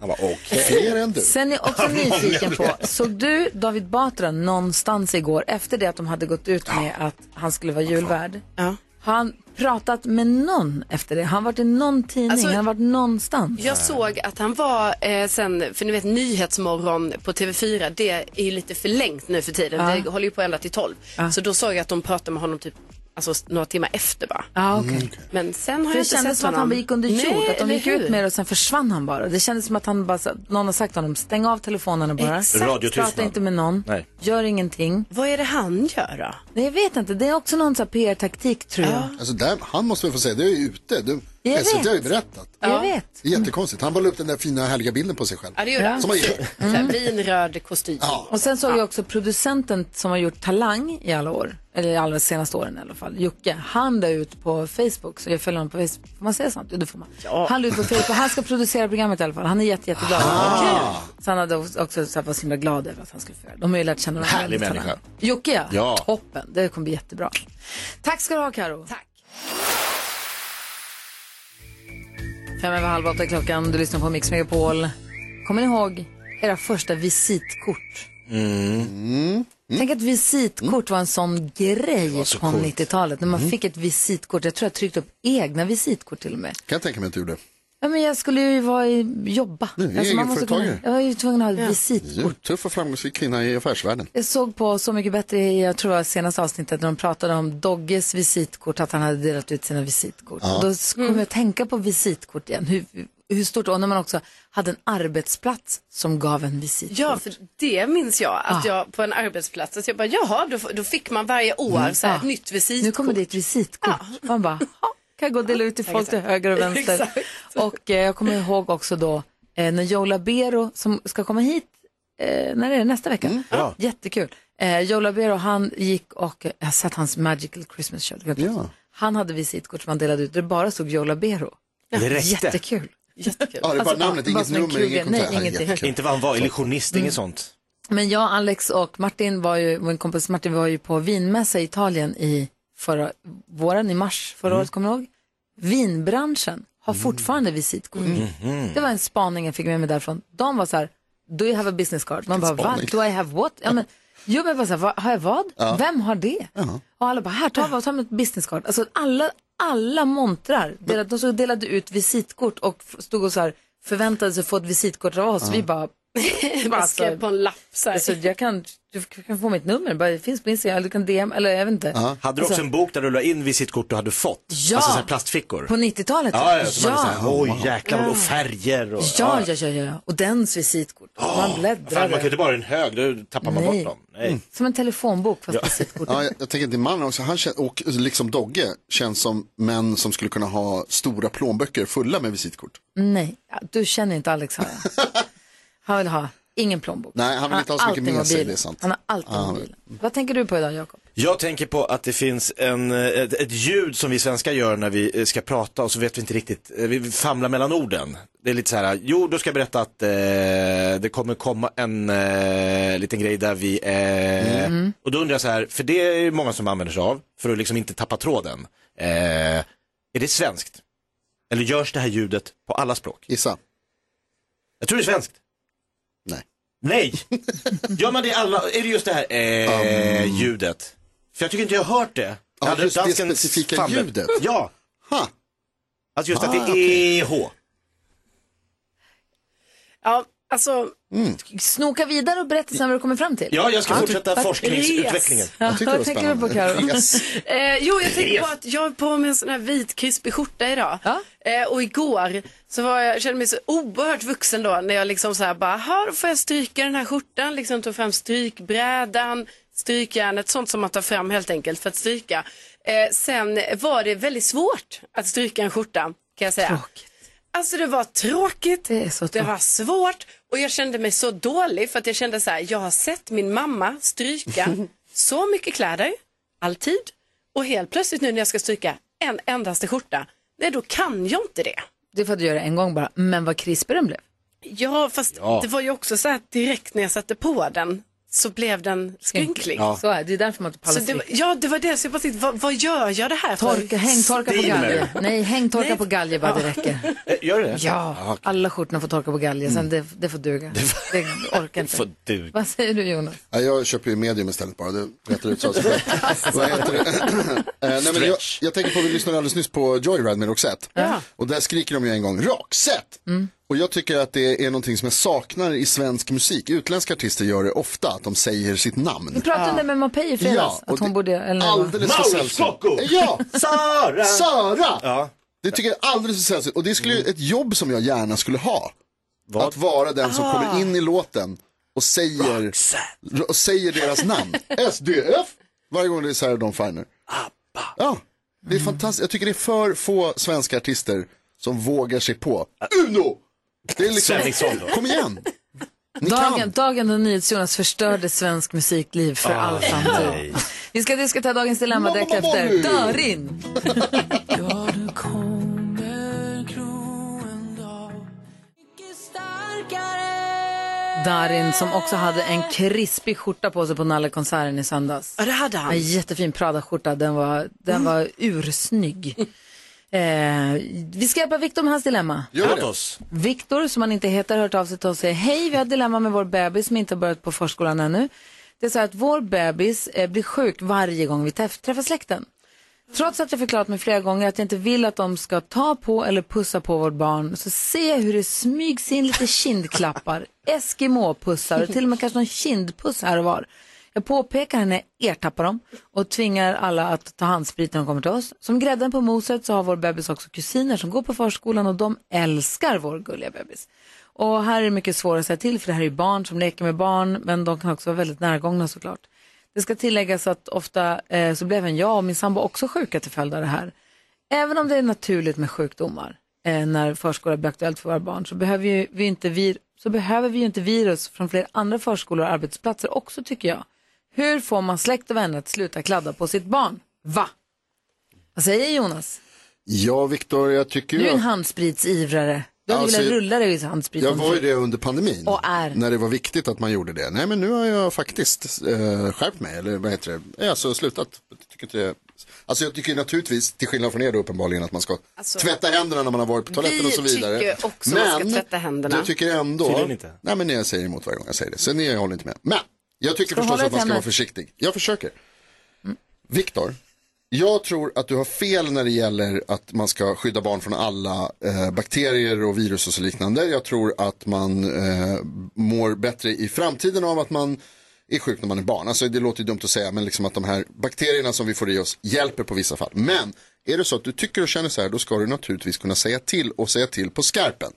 Han bara, okej. Fler än du. Sen är jag också Ja, många nyfiken på, fler. såg du David Batra någonstans igår efter det att de hade gått ut med att han skulle vara julvärd? Ja. Har han pratat med någon efter det? Har han varit i någon tidning? Alltså, har han varit någonstans? Jag såg att han var eh, sen, för ni vet Nyhetsmorgon på TV4, det är ju lite förlängt nu för tiden. Ja. Det håller ju på ända till 12. Så då såg jag att de pratade med honom typ alltså, några timmar efter bara. Ja, Ah, okej. Men sen har För jag det inte kändes sett som att honom. han gick under jord, Nej, att de eller gick hur? ut med det och sen försvann han bara. Det kändes som att han bara, sa- någon har sagt till honom, stäng av telefonerna bara. Exakt. Radiotystnad. Prata inte med någon, Nej. gör ingenting. Vad är det han gör då? Nej, jag vet inte, det är också någon sån här PR-taktik tror jag. Alltså där, han måste väl få säga, det är ute. Du, Jag SVT vet. har ju berättat. Jag vet. Det är jättekonstigt. Han bara la upp den där fina härliga bilden på sig själv. Ja, det gör han. Som man gör. Mm. Vinröd kostym. Och sen såg jag också producenten som har gjort Talang i alla år, eller i alla senaste åren i alla fall, Jocke, han la ut på Facebook, så jag följer honom på Facebook, får man säga sånt? Jo, det får man. Han la ut på Facebook, han ska producera programmet i alla fall, han är jätte, jätteglad. Ah. Så han hade också så här, var så himla glad över att han skulle få göra det. De har ju lärt känna varandra. Härlig Talang. människa. Jocke ja. Ja. toppen, det kommer bli jättebra. Tack ska du ha Karo. Tack. Fem över halv åtta är klockan, du lyssnar på Mix Megapol. Kommer ni ihåg era första visitkort? Mm. Tänk att visitkort var en sån grej Mm. så på coolt. 90-talet. När man Mm. fick ett visitkort. Jag tror jag tryckte upp egna visitkort till och med. Kan jag tänka mig att du gjorde. Ja, men jag skulle ju vara i, jobba. Alltså, Nu, man måste egenföretagare. kunna, jag var ju tvungen att ha ett visit. Ja, Tuff och framgångsrik kvinna i affärsvärlden. Jag såg på Så mycket bättre i, jag tror det var senaste avsnittet, när de pratade om Dogges visitkort, att han hade delat ut sina visitkort. Ja. Mm. Och Då s- kom jag att tänka på visitkort igen. Hur, hur stort, och när man också hade en arbetsplats som gav en visitkort. Ja, för det minns jag Ah. att jag på en arbetsplats, att jag bara jaha, då, f- då fick man varje år så här, Ja. ett nytt visitkort. Mm. Ah. Nu kommer det ett visitkort. Man <laughs> bara, "Ha, kan jag gå och dela ut till folk till höger och vänster. Exakt. Och eh, jag kommer ihåg också då eh, när Joe Labero som ska komma hit, eh, när är det? Nästa vecka? Mm, ja. Jättekul. Eh, Joe Labero han gick och, jag har sett hans Magical Christmas show. Ja. Han hade visitkort som han delade ut, där det bara stod Joe Labero. Det räckte. Jättekul. Jättekul. Ja, det är bara namnet, inget som en nummer, kruga. inget Nej, kontakt. ingenting. Inte vad han var, illusionist, Mm. inget sånt. Men jag, Alex och Martin var ju, min kompis Martin var ju på vinmässa i Italien i förra våren, i mars Mm. förra året, kommer ni ihåg? Vinbranschen har fortfarande visitkort. Mm-hmm. Det var en spaning jag fick med mig därifrån. De var så här, do you have a business card? Man bara, Vilken va? spaning. Do I have what? Ja, men, jo, men bara så här, va, har jag vad? Ja. Vem har det? Och alla bara, här, ta, vad, ta mitt business card. Alltså alla, alla montrar, delade, de stod och delade ut visitkort och f- stod och så här, förväntade sig få ett visitkort av oss. Ja. Vi bara, Bara skrev på en lapp så här. Alltså, jag kan, du kan få mitt nummer, bara, det finns på Instagram, eller du kan DM, eller jag vet inte. Hade du Alltså, också en bok där du la in visitkort du hade fått? Ja. Alltså sån här plastfickor? På 90-talet? Ja, ja, som hade ja. så här, oj jäklar, Ja. och färger och... Ja, ja, ja, ja. Och dens visitkort. man Fan, man kan bläddrade. inte bara ha en hög, då tappar man Nej. Mm. bort dem. Nej. Som en telefonbok, fast Ja. Ja, jag, jag tänker att din man också, han känns, och liksom Dogge, känns som män som skulle kunna ha stora plånböcker fulla med visitkort. nej, ja, du känner inte Alex, har jag. <laughs> Han vill ha ingen plånbok. Nej, han vill inte ha så har mycket alltid med sig, mobilen. det är sant. Han har alltid Ja. mobilen. Vad tänker du på idag, Jakob? Jag tänker på att det finns en, eh, ett, ett ljud som vi svenskar gör när vi eh, ska prata och så vet vi inte riktigt, eh, vi famlar mellan orden. Det är lite så här, jo då ska jag berätta att eh, det kommer komma en eh, liten grej där vi, eh, Mm. och då undrar jag så här, för det är ju många som använder sig av, för att liksom inte tappa tråden. Eh, är det svenskt? Eller görs det här ljudet på alla språk? Gissa. Jag tror det är svenskt. Nej. Nej! Gör man det i alla, är det just det här eh, ljudet? För jag tycker inte jag har hört det. Ja, Hade just det dansken specifika fan- ljudet. Ja. Ha. Alltså just att Ah, det okej. är EH. Ja, alltså, Snoka vidare och berätta sen vad du kommer fram till. Ja, Ah, jag ska fortsätta tack. forskningsutvecklingen. Ja, Jag tycker det vad var tänker du på spännande. Karo? Yes. Eh, jo, jag tänker Yes. på att jag har på mig en sån här vit krispig skjorta idag. Eh, och igår så var jag, jag kände mig så oerhört vuxen då när jag liksom så här bara, "Jaha, då får jag stryka den här skjortan, liksom tog fram strykbrädan, strykjärnet, sånt som man tar fram helt enkelt för att stryka. Eh, sen var det väldigt svårt att stryka en skjorta, kan jag säga. Alltså det var tråkigt, det, var svårt och jag kände mig så dålig för att jag kände så här, jag har sett min mamma stryka <laughs> så mycket kläder, alltid, och helt plötsligt nu när jag ska stryka en endaste skjorta, nej då kan jag inte det. Det får du göra en gång bara, men vad krispig den blev. Ja, fast Ja. det var ju också så här att direkt när jag satte på den så blev den skrynklig. Så är det, det är därför man inte pallar Så det var, ja, det var det. Så jag bara tänkte, vad, vad gör jag det här för? Torka, hängtorka på Stil med galge. det. Nej, hängtorka Nej. på galge bara, det räcker. Eh, Gör det? Ja, Ah, okej. alla skjortorna får torka på galge, sen det, det får duga. Det, orkar inte. Får duga. Vad säger du Jonas? Ja, jag köper ju medium istället bara, det rättar ut saker. Vad heter det? <clears throat> Eh, nej, men jag, jag tänker på, vi lyssnade alldeles nyss på Joyride med Roxette. Och där skriker de ju en gång, Roxette! Mm. Och jag tycker att det är någonting som jag saknar i svensk musik. Utländska artister gör det ofta, att de säger sitt namn. Vi pratade om det med Mapei i fredags, och att hon det- borde... Eller när det var. Alldeles för sällsynt. Ja! Sara! Sara! Det tycker jag är alldeles för sällsynt. Och det skulle ju Mm. ett jobb som jag gärna skulle ha. Att vara den som Ah. kommer in i låten och säger, <laughs> och säger deras namn. SDF! Varje gång det är Sarah Dawn Finer. Abba. Ja. Det är Mm. fantastiskt. Jag tycker det är för få svenska artister som vågar sig på Uno! Det är Svenningsson liksom, då. kom igen! Ni Dagen, dagen då NyhetsJonas förstörde svensk musikliv för Ah, all framtid. nej. Vi ska diskutera dagens dilemma direkt efter. Darin! Darin som också hade en krispig skjorta på sig på Nallekonserten i söndags. Ja, det hade han. En jättefin Prada-skjorta, den var, den var ursnygg. Eh, vi ska hjälpa Viktor med hans dilemma. Gör det. oss. Viktor, som han inte heter, har hört av sig till oss och säger hej, vi har ett dilemma med vår bebis som inte har börjat på förskolan ännu. Det är så här att vår bebis eh, blir sjuk varje gång vi träff- träffar släkten. Trots att jag förklarat mig flera gånger att jag inte vill att de ska ta på eller pussa på vårt barn så ser jag hur det smygs in lite kindklappar, Eskimo-pussar och till och med kanske någon kindpuss här och var. Jag påpekar henne ertappar dem och tvingar alla att ta handsprit när de kommer till oss. Som grädden på moset så har vår bebis också kusiner som går på förskolan och de älskar vår gulliga bebis. Och här är det mycket svårare att säga till för det här är ju barn som leker med barn men de kan också vara väldigt närgångna såklart. Det ska tilläggas att ofta eh, så blev även jag och min sambo också sjuka till följd av det här. Även om det är naturligt med sjukdomar eh, när förskola blir aktuellt för våra barn så behöver, ju vi inte vir- så behöver vi ju inte virus från fler andra förskolor och arbetsplatser också tycker jag. Hur får man släkt och vänner att sluta kladda på sitt barn? Va? Vad säger Jonas? Ja, Viktor, jag tycker Du ju är en att... handspritsivrare. Du hade Alltså, velat rulla dig i handsprit. Jag var ju det under pandemin. Och är. När det var viktigt att man gjorde det. Nej, men nu har jag faktiskt eh, skärpt mig, eller vad heter det? Eh, Alltså slutat. Jag tycker inte det... Alltså jag tycker naturligtvis, till skillnad från er då uppenbarligen, att man ska Alltså, tvätta händerna när man har varit på toaletten vi och så vidare. tycker också men man ska tvätta händerna. jag tycker ändå... Tydligen inte. Nej, men jag säger emot varje gång jag säger det. Så ni håller inte med. Men jag tycker Ska du förstås hålla att man ska ett ämne? vara försiktig. Jag försöker. Viktor, jag tror att du har fel när det gäller att man ska skydda barn från alla eh, bakterier och virus och så liknande. Jag tror att man eh, mår bättre i framtiden av att man är sjuk när man är barn. Alltså det låter ju dumt att säga men liksom att de här bakterierna som vi får i oss hjälper på vissa fall. Men är det så att du tycker och känner så här då ska du naturligtvis kunna säga till och säga till på skarpen.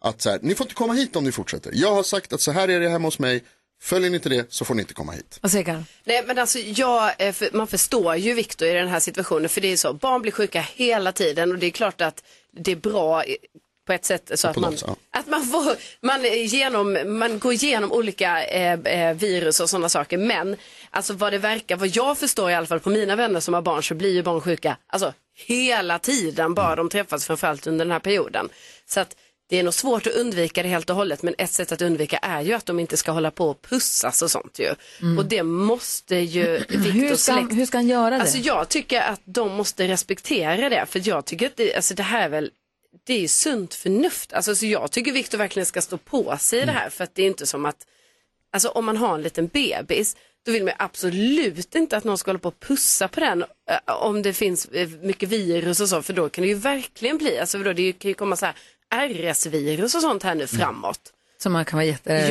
Att så här, ni får inte komma hit om ni fortsätter. Jag har sagt att så här är det hemma hos mig. Följer ni inte det så får ni inte komma hit. Vad säger Karin? Nej men alltså jag, eh, för, man förstår ju Viktor i den här situationen för det är så, barn blir sjuka hela tiden och det är klart att det är bra i- på ett sätt så att på man, något, ja. att man, får, man, är genom, man går igenom olika eh, eh, virus och sådana saker men alltså vad det verkar, vad jag förstår i alla fall på mina vänner som har barn så blir ju barn sjuka alltså hela tiden Mm. bara de träffas framförallt under den här perioden. Så att det är nog svårt att undvika det helt och hållet men ett sätt att undvika är ju att de inte ska hålla på och pussas och sånt ju. Mm. Och det måste ju Hur Viktors ska, han- släkt. hur ska han göra det? Alltså jag tycker att de måste respektera det för jag tycker att det, alltså det här är väl det är ju sunt förnuft. Alltså så jag tycker Viktor verkligen ska stå på sig i det här för att det är inte som att Alltså om man har en liten bebis, då vill man ju absolut inte att någon ska hålla på och pussa på den eh, om det finns eh, mycket virus och så, för då kan det ju verkligen bli, alltså då, det är ju- kan ju komma så här RS-virus och sånt här nu framåt. Som man kan vara Ja, precis.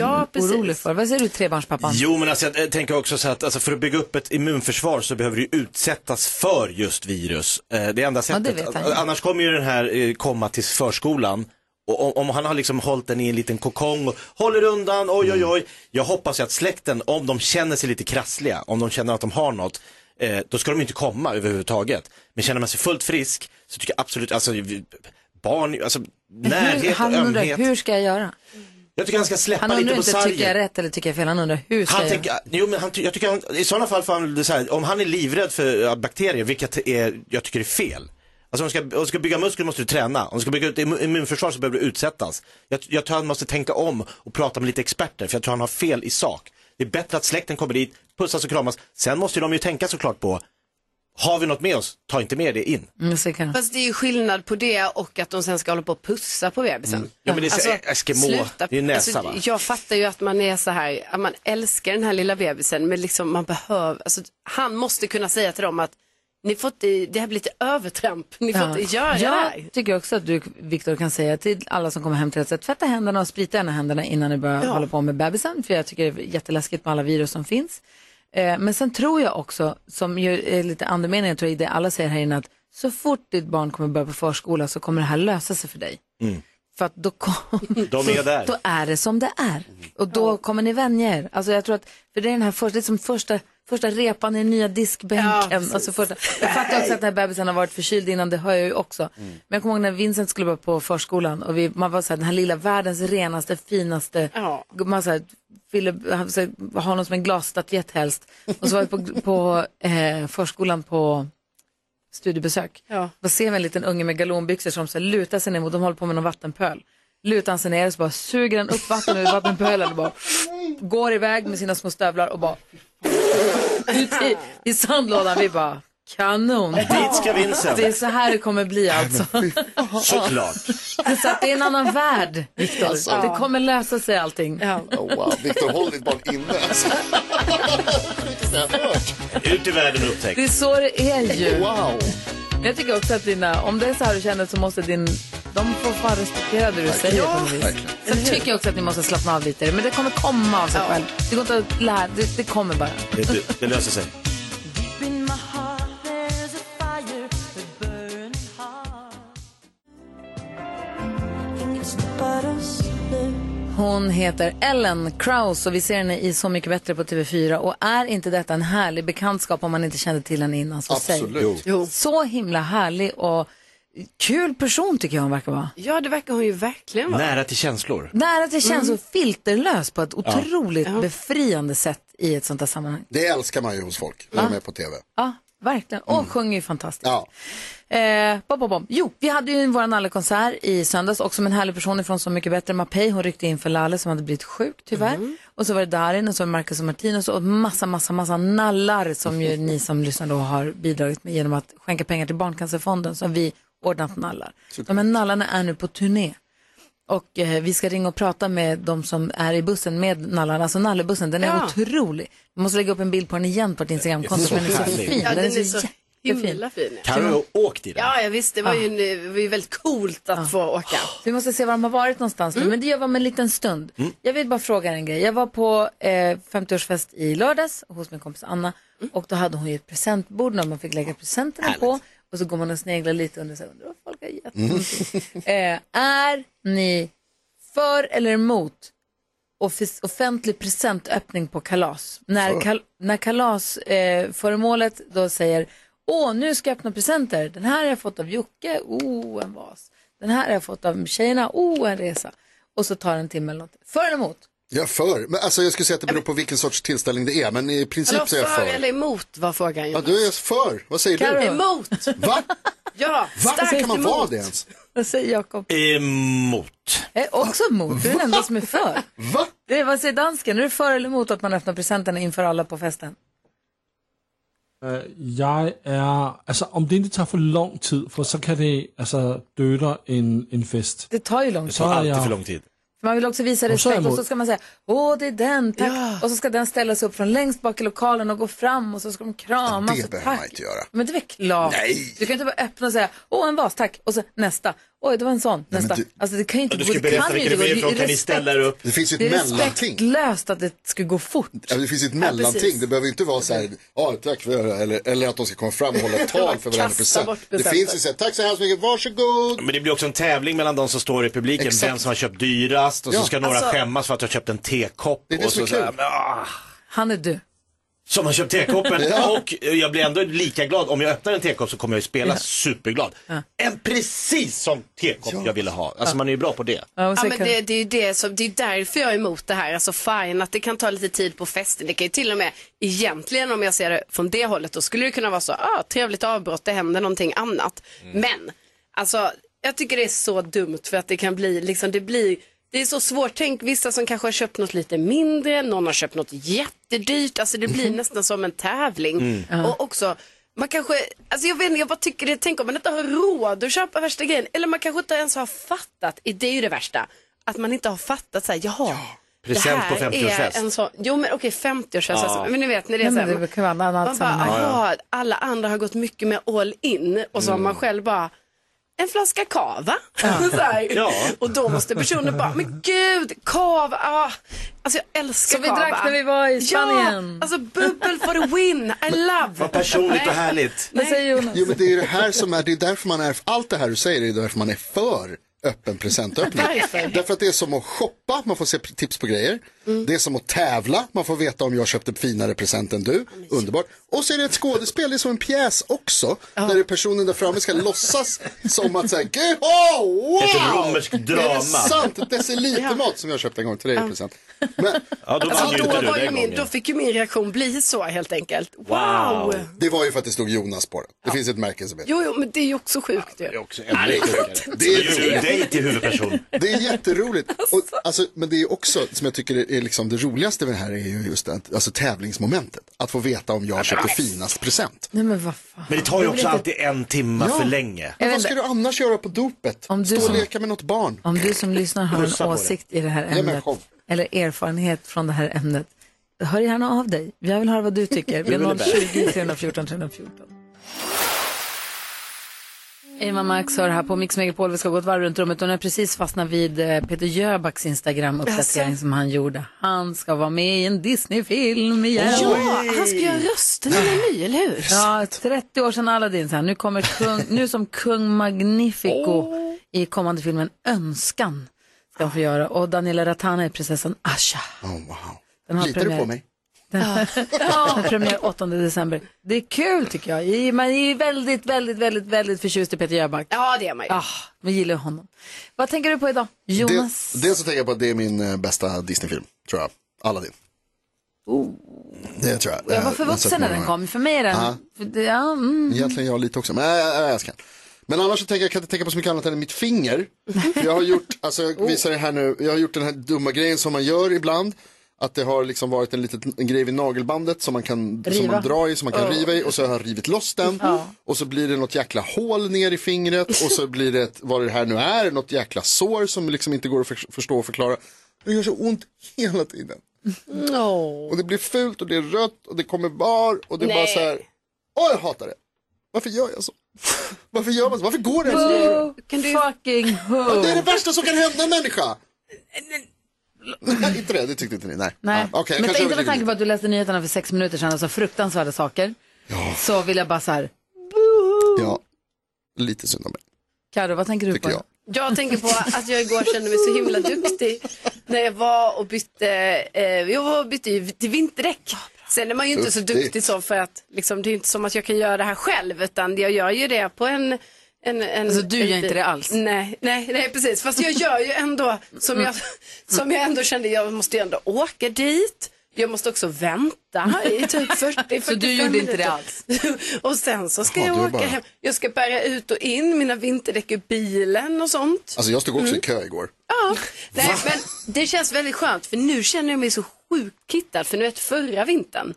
jätteorolig för. Vad säger du trebarnspappan? Jo, men alltså, jag eh, tänker också så att alltså, för att bygga upp ett immunförsvar så behöver du utsättas för just virus. Eh, Det är enda Ja, det sättet. vet han ju. Annars kommer ju den här eh, komma till förskolan. Och om, om han har liksom hållit den i en liten kokong och håller undan, oj Mm. oj oj. Jag hoppas ju att släkten, om de känner sig lite krassliga, om de känner att de har något, eh, då ska de ju inte komma överhuvudtaget. Men känner man sig fullt frisk så tycker jag absolut, alltså vi- barn, alltså närhet och han undrar, ömhet. hur ska jag göra? Jag tycker han ska släppa Han undrar lite på inte, sargen. tycker jag rätt eller tycker jag fel? Han undrar, hur ska Han jag tänker, jo, men han, ty- jag tycker han, i sådana fall får han, det är så här, om han är livrädd för eh, bakterier, vilket är, jag tycker är fel. Alltså om du ska, om du ska bygga muskler måste du träna, om du ska bygga ut immu- immunförsvar så behöver du utsättas. Jag, jag tror han måste tänka om och prata med lite experter, för jag tror han har fel i sak. Det är bättre att släkten kommer dit, pussas och kramas. Sen måste de ju tänka såklart på, har vi något med oss, ta inte med det in. Mm, så kan- Fast det är ju skillnad på det och att de sen ska hålla på och pussa på bebisen. Alltså, Mm. Ja, men det är så- Eskimo, det är ju näsa, va? Jag fattar ju att man är så här, att man älskar den här lilla bebisen men liksom man behöver, alltså, han måste kunna säga till dem att ni får inte, det här blir lite övertramp, ni får inte göra det här. Jag tycker också att du, Viktor, kan säga till alla som kommer hem till dig att tvätta händerna och sprita gärna händerna innan ni börjar hålla på med bebisen. För jag tycker det är jätteläskigt med alla virus som finns. Eh, men sen tror jag också, som ju är lite andemeningen, jag tror i det alla säger här inne, att så fort ditt barn kommer börja på förskola så kommer det här lösa sig för dig. För att då, kom, Mm. <laughs> De är där. då är det som det är. Och då kommer ni vänja er. Alltså jag tror att, för det är den här första, det är som första, första repan i den nya diskbänken. alltså första, jag fattar också att den här bebisen har varit förkyld innan, det hör jag ju också. Men jag kommer ihåg när Vincent skulle börja på förskolan och vi, man var så här, den här lilla världens renaste, finaste, man så här, ville så här, ha någon som en glasstatyett helst. Och så var vi på, på eh, förskolan på studiebesök. Ja. Då ser vi en liten unge med galonbyxor som så här lutar sig ner mot, de håller på med någon vattenpöl. Lutar han sig ner och så bara suger han upp vatten ur vattenpölen och bara går iväg med sina små stövlar och bara ut i, i sandlådan. Vi bara kanon. Dit ska <laughs> Vincent. Det är så här det kommer bli alltså. Såklart. Så att det är en annan värld, Viktor. Alltså. Det kommer lösa sig allting. Oh, <laughs> wow. Viktor, håll ditt barn inne. Alltså. Ut i världen och Det är upptäck. så det är <laughs> ju. Wow. Men Jag tycker också att dina, om det är så här du känner så måste din, de får fan respektera det du säger på något vis. verkligen. Sen tycker jag också att ni måste slappna av lite, men det kommer komma av sig själv. Det går inte att lära, det, det kommer bara. Det, det, det löser sig. Hon heter Ellen Kraus och vi ser henne i Så mycket bättre på TV4 och är inte detta en härlig bekantskap om man inte kände till henne innan? Så säg. Absolut. Så himla härlig och kul person tycker jag hon verkar vara. Ja, det verkar hon ju verkligen vara. Nära till känslor. Nära till känns så filterlös på ett otroligt befriande sätt i ett sånt här sammanhang. Det älskar man ju hos folk när de är på tv. Ja, verkligen. Och sjunger ju fantastiskt. Ja. Eh, bom, bom, bom. Jo, vi hade ju vår Nalle-konsert i söndags, också med en härlig person från Så mycket bättre, Mapei. Hon ryckte in för Lalle som hade blivit sjuk tyvärr. Och så var det Darin och så var det Marcus och Martinus och massa, massa, massa nallar som ju ni som lyssnar då har bidragit med genom att skänka pengar till Barncancerfonden som vi ordnat nallar. De här nallarna är nu på turné. Och eh, vi ska ringa och prata med de som är i bussen med nallarna. Alltså nallebussen, den är Ja. otrolig. Vi måste lägga upp en bild på den igen på ett Instagramkonto, för den är så härlig. fin. Ja, den, är så jättefin. himla fin. ja. Carro har åkt i den. Ja, ja, visst, det var ju en, det var ju väldigt coolt att få åka. Vi måste se var de har varit någonstans nu, men det gör vi om en liten stund. Jag vill bara fråga er en grej. Jag var på eh, 50-årsfest i lördags hos min kompis Anna och då hade hon ju ett presentbord där man fick lägga presenterna på och så går man och sneglar lite under sig undrar vad folk har gett. <laughs> eh, är ni för eller emot offic- offentlig presentöppning på kalas? När, kal- när kalasföremålet eh, föremålet då säger Åh, nu ska jag öppna presenter. Den här har jag fått av Jocke. Oh, en vas. Den här har jag fått av tjejerna. Oh, en resa. Och så tar det en timme eller något. För eller emot? Jag är för. Men alltså, jag skulle säga att det beror på vilken sorts tillställning det är, men i princip Typ Eller så är jag för för. eller emot var frågan Ja, Jonas. du är för. Vad säger Carro? du? Emot! Va? Ja, Va? starkt Kan man emot. vara det ens? Vad säger Jakob? Emot. Jag är också emot. Du är den enda som är för. Va? Det är, vad säger dansken? Är du för eller emot att man öppnar presenterna inför alla på festen? Øh, Jeg er... Altså, om det ikke tager for lang tid, for så kan det altså døde en, en fest. Det tar ju lång tid. Så er Alltid för jeg... lång tid. För man vill också visa Och så är respekt och så emot. ska man säga Åh, det är den, tack. Och så ska den ställa sig upp från längst bak i lokalen och gå fram och så ska de kramas. Det och behöver tack. man inte göra. Men det är väl klart. Nej. Du kan inte bara öppna och säga, åh en vas, tack. Och så nästa. Oj, det var en sån. Nästa. du- Alltså det kan ju inte Du gå. ska Det berätta kan ju vilka inte gå. Det du är ifrån. är Kan ni ställa er respekt- upp? Det finns ju det ett är mellanting. respektlöst att det ska gå fort. Ja, det finns ju ett mellanting. Det behöver ju inte vara så här, ja tack för det, eller, eller att de ska komma fram och <laughs> hålla ett tal för varenda Kasta present. bort Det presenten. finns ju så här, tack så hemskt mycket, varsågod. Men det blir också en tävling mellan de som står i publiken, Exakt. vem som har köpt dyrast och så Ja. ska några Alltså- skämmas för att jag köpt en tekopp. Det är det och som så är så här, kul. men, ah, Han är du. som har köpt tekoppen <laughs> Ja. och eh, jag blir ändå lika glad. Om jag öppnar en tekopp så kommer jag ju spela superglad. En precis som tekopp jag ville ha. Alltså man är ju bra på det. Ja, och Ja, så men kan- det, det är ju det som, det är ju därför jag är emot det här. Alltså fine att det kan ta lite tid på festen. Det kan ju till och med, egentligen om jag ser det från det hållet, då skulle det kunna vara så, ah, trevligt avbrott, det händer någonting annat. Men, alltså jag tycker det är så dumt för att det kan bli, liksom det blir, det är så svårt. Tänk vissa som kanske har köpt något lite mindre, någon har köpt något jättedyrt. Alltså det Mhm. blir nästan som en tävling. Mm. Och också, man kanske, alltså jag vet inte, jag bara tycker det, tänk om man inte har råd att köpa värsta grejen. Eller man kanske inte ens har fattat, det är ju det värsta, att man inte har fattat så här, jaha. present på det här 50-årsfest. är en sån, jo men okej 50-årsfest, alltså, men ni vet när det Nej, är så men här, det kan vara en annan man bara, sammanhang. aha, alla andra har gått mycket mer all in och så har Mm. man själv bara en flaska kava. <laughs> så här. Ja. Och då måste personen bara, men gud, kava, ah. alltså jag älskar Som vi kava. drack när vi var i Spanien. Ja, alltså bubbel for the win, I love. Vad personligt och härligt. Vad säger Jonas? Jo men det är ju det här som är, det är därför man är, allt det här du säger är därför man är för. öppen presentöppning. <laughs> Varför? Mm. Därför att det är som att shoppa, man får se p- tips på grejer. Det är som att tävla, man får veta om jag köpte finare present än du. Underbart. Och så är det ett skådespel, det är som en pjäs också. Där det är personen där framme ska låtsas som att säga, <laughs> oh, wow! Ett romerskt Är drama. det sant? Ett decilitermat som jag köpte en gång till dig i present. Ja, då Alltså, vann ju Alltså, Då, inte du var ju den min, då gången. fick ju min reaktion bli så helt enkelt. Wow! Det var ju för att det stod Jonas på den. Det finns ett märke som heter Jo, jo, men det är ju också sjukt ju. Ja, det är sjukt. Det är ju dig till huvudperson. Det är jätteroligt. Och, alltså, men det är också, som jag tycker är liksom det roligaste med det här är ju just det, alltså tävlingsmomentet. Att få veta om jag köpte finast present. Nej men vad fan. Men det tar ju Det blir inte- också alltid en timme Ja. för länge. Jag vet Vad inte. ska du annars göra på dopet? Om du Stå som- och leka med något barn? Om du som lyssnar har Pussa en på dig. åsikt i det här men ämnet kom. eller erfarenhet från det här ämnet, hör gärna av dig. <laughs> Jag vill höra vad du tycker. Vi Det är har väl det 020 314 314. Eva Max hör här på Mix Megapol. Vi ska gå ett varv runt rummet och nu har jag precis fastnat vid eh, Peter Jöbacks Instagram-uppdatering Jaså? som han gjorde. Han ska vara med i en Disney-film igen. Ja, han ska göra rösten i en ny, eller hur? Ja, 30 år sedan Aladdin. Så här, nu kommer kung, nu som kung Magnifico i kommande filmen Önskan. Ska han få göra. Och Daniela Ratana är prinsessan Asha. Oh, wow. Den har Litar premiär. du på mig? Den den premiär 8 december. Det är kul tycker jag. I- Man är ju väldigt, väldigt, väldigt, väldigt förtjust i Peter Jöback. Ja, det är man ju. Ah, man gillar ju honom. Vad tänker du på idag? Jonas? Dels, dels så tänker jag på att det är min eh, bästa Disney-film, tror jag. Aladdin. Det tror jag. Oh. Jag var Eh, har sett förvuxen när många den gånger. kom. För mig är den... Ja. för det- Ja, mm. Egentligen jag lite också, men jag, jag, jag älskar den. Men annars så tänker jag, jag kan inte tänka på så mycket annat än mitt <laughs> finger. För jag har gjort, alltså Oh. jag visar det här nu, jag har gjort den här dumma grejen som man gör ibland. Att det har liksom varit en liten en grej vid nagelbandet som man kan som Riva. man drar i, som man kan Ja. riva i och så har jag rivit loss den. Ja. Och så blir det något jäkla hål ner i fingret och så blir det, ett, vad det här nu är, något jäkla sår som liksom inte går att för, förstå och förklara. Det gör så ont hela tiden. Och det blir fult och det är rött och det kommer var och det är bara Nej. så här. Åh, jag hatar det. Varför gör jag så? <laughs> Varför gör man så? Varför går det här så? Boo, fucking Ja, who. Det är det värsta som kan hända en människa. Nej, inte det, det tyckte inte ni. Nej. Nej, Ja, okej, jag men kanske inte med överdriver tanke på att du läste nyheterna för sex minuter sedan och sa fruktansvärda saker. Så vill jag bara så här, lite. Ja, lite synd om mig. Karo, vad tänker du på? jag. Jag tänker på att jag igår kände mig så himla duktig när jag var och bytte, eh, jag var och bytte ju till Ah, vinterdäck. Sen är man ju inte så Duktigt. duktig så för att liksom, det är ju inte som att jag kan göra det här själv utan jag gör ju det på en en, en, Alltså, du en gör inte bil. det alls? Nej, nej, nej, precis. Fast jag gör ju ändå som jag, som jag ändå kände, jag måste ju ändå åka dit. Jag måste också vänta i typ 40 Så du 45 gjorde inte det minuter. alls? <laughs> Och sen så ska Jaha, jag du är åka bara- hem. Jag ska bära ut och in mina vinterdäck ur bilen och sånt. Alltså jag stod också Mm. i kö igår. Ja, nej, men det känns väldigt skönt för nu känner jag mig så sjukt kittad för nu vet förra vintern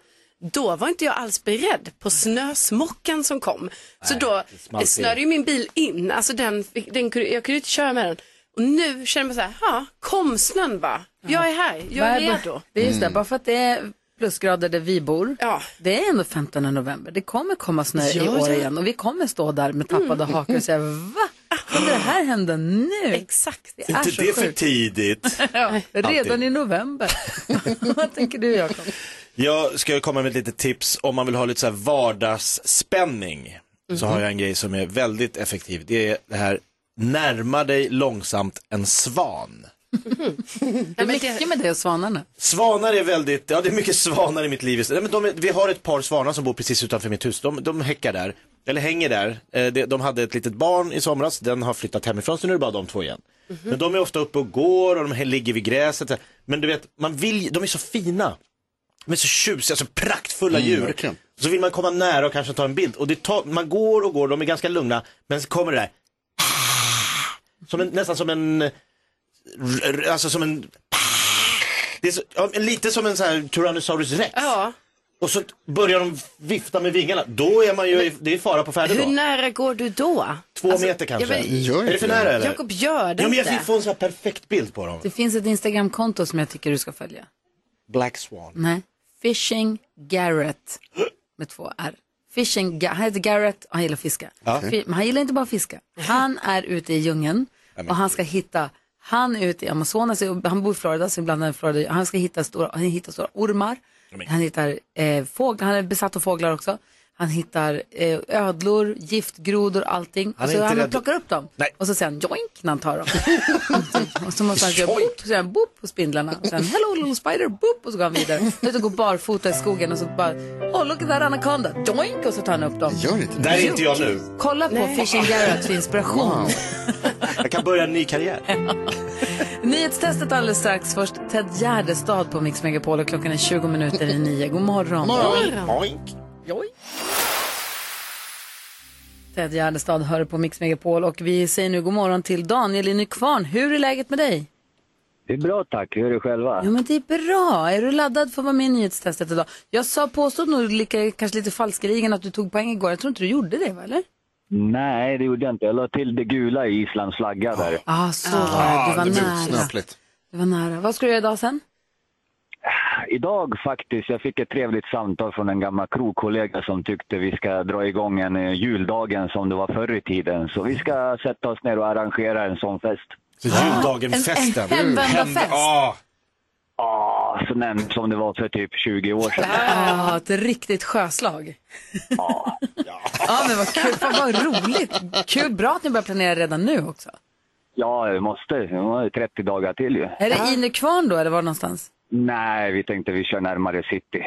då var inte jag alls beredd på snösmockan som kom. Så då small till. snörde ju min bil in, alltså den, fick- den, kunde- jag kunde ju inte köra med den. Och nu känner man så här, ja, kom snön bara. Jag är här, jag är Bara- redo. Det är Mm. just det, bara för att det är plusgrader där vi bor, det är ändå 15 november. Det kommer komma snö i Ja, år ja. Mm. igen och vi kommer stå där med tappade hakor och säga va? Kunde det här hända nu? Exakt. Det är Inte så det för sjukt. <laughs> tidigt. ja, redan Alltid. i november. <laughs> Vad tänker du Jakob? Jag ska komma med ett litet tips om man vill ha lite så här vardagsspänning. Så Mhm. har jag en grej som är väldigt effektiv. Det är det här, närma dig långsamt en svan. Det är mycket med det och svanarna. Svanar är väldigt, ja det är mycket svanar i mitt liv. just- Nej, men de, är- vi har ett par svanar som bor precis utanför mitt hus. De, de häckar där, eller hänger där. Eh, de, de hade ett litet barn i somras, den har flyttat hemifrån så nu är det bara de två igen. Mhm. Men de är ofta uppe och går och de här ligger vid gräset. Men du vet, man vill, de är så fina. De är så tjusiga, så praktfulla Mm, djur. verkligen. Så vill man komma nära och kanske ta en bild. Och det tar, man går och går, de är ganska lugna. Men så kommer det där. Som en, nästan som en, r- r- alltså som en, det är så, ja, men lite som en sån här Tyrannosaurus rex. Och så börjar de vifta med vingarna. Då är man ju, i- det är fara på färde Hur då. nära går du då? Två meter kanske. jag vill- är det för nära eller? Jakob, gör det ja, men jag inte. fick få en sån här perfekt bild på dem. Det finns ett Instagramkonto som jag tycker du ska följa. Black Swan. Nej, Fishing Garrett med två R. Fishing Ga- han heter Garrett och han gillar att fiska. Ja. Fi- Men han gillar inte bara att fiska. Han är ute i djungeln och han ska hitta, han är ute i Amazonas, han bor i Florida, så ibland är han i Florida, han ska hitta stora, han hittar stora ormar, han hittar eh, fåglar, han är besatt av fåglar också. han hittar eh, ödlor, giftgrodor, allting. Han är och så inte han rädd. plockar upp dem och så säger han joink när han tar <laughs> dem. och så måste han göra boop, så säger han boop på spindlarna. Och sen hello little spider, boop och så går han vidare. Ut och går barfota i skogen och så bara oh look at that anaconda, joink och så tar han upp dem. Gör inte Där är inte jag nu. Kolla på Fishing Garrett för inspiration. Wow. Jag kan börja en ny karriär. Nyhetstestet alldeles strax. Först Ted Gärdestad på Mix Megapol och klockan är 20 minuter i nio. God morgon. Ted Gärdestad hör på Mix Megapol och vi säger nu god morgon till Daniel i Nykvarn. Hur är läget med dig? Det är bra tack, hur är det själva? Jo men det är bra. Är du laddad för att vara med i nyhetstestet idag? Jag sa, påstod nog lika, kanske lite falskeligen att du tog poäng igår. Jag tror inte du gjorde det va, eller? <laughs> Nej, det gjorde jag inte. Jag la till det gula i Islands flagga där. Ah, så var det. Du var nära. Du var nära. Vad ska du göra idag sen? Idag faktiskt, jag fick ett trevligt samtal från en gammal krogkollega som tyckte vi ska dra igång en eh, juldagen som det var förr i tiden. Så vi ska sätta oss ner och arrangera en sån fest. Så juldagenfesten. en hemvändarfest. Hem- Mm. Ja. Ja, så nämnt som det var för typ 20 år sedan. Ah, ett riktigt sjöslag. Ja. <laughs> ja, men vad kul. Fan, vad roligt. Kul. Bra att ni börjar planera redan nu också. Ja, vi måste. Vi har ju 30 dagar till ju. Är det i Nykvarn då, eller var någonstans? Nej, vi tänkte vi kör närmare city.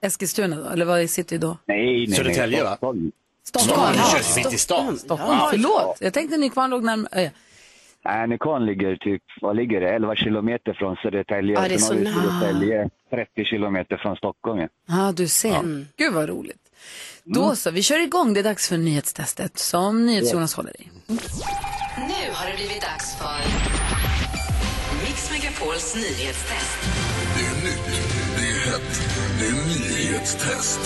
Eskilstuna då, eller var är city då? Nej, nej, nej. Södertälje, va? Stockholm. Stockholm. Stockholm. Ja, Körs mitt i stan. Stockholm. Ja. Förlåt, jag tänkte Nykvarn låg närmare. ja. Nej, Nikon ligger typ, vad ligger det, 11 kilometer från Södertälje. Ja, det är Sen har så vi nära. Södertälje 30 kilometer från Stockholm. ja. Ja, ah, du ser. Gud vad roligt. Då så, vi kör igång. Det är dags för nyhetstestet som NyhetsJonas håller i. Nu har det blivit dags för Mix Megapols nyhetstest. Det är nytt, det är hett, det är nyhetstest.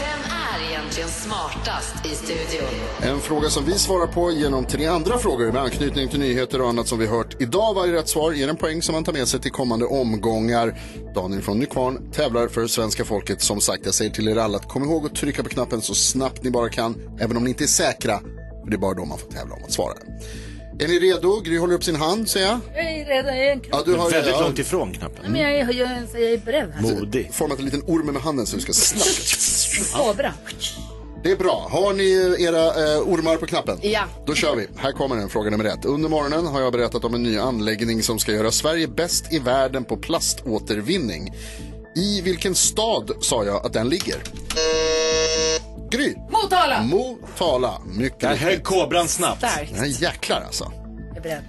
Vem är egentligen smartast i studion? En fråga som vi svarar på genom tre andra frågor med anknytning till nyheter och annat som vi hört idag. Varje rätt svar ger en poäng som man tar med sig till kommande omgångar. Daniel från Nykvarn tävlar för svenska folket. Som sagt, jag säger till er alla att kom ihåg att trycka på knappen så snabbt ni bara kan, även om ni inte är säkra. För det är bara då man får tävla om att svara. Är ni redo? Gry håller upp sin hand, ser jag. Jag är redan i en kropp. Ja, du har- Väldigt ja. långt ifrån knappen. Men jag, är, jag, är- jag är beredd Mm. här. Modig. Format en liten orm med handen så du ska snabbt. Så bra. Det är bra. Har ni era eh, ormar på knappen? Ja. Då kör vi. Här kommer den, fråga nummer ett. Under morgonen har jag berättat om en ny anläggning som ska göra Sverige bäst i världen på plaståtervinning. I vilken stad sa jag att den ligger? Gry. Motala. Mm. Motala. Mycket Där högg kobran snabbt. Starkt. Nej, jäklar alltså. Jag är beredd.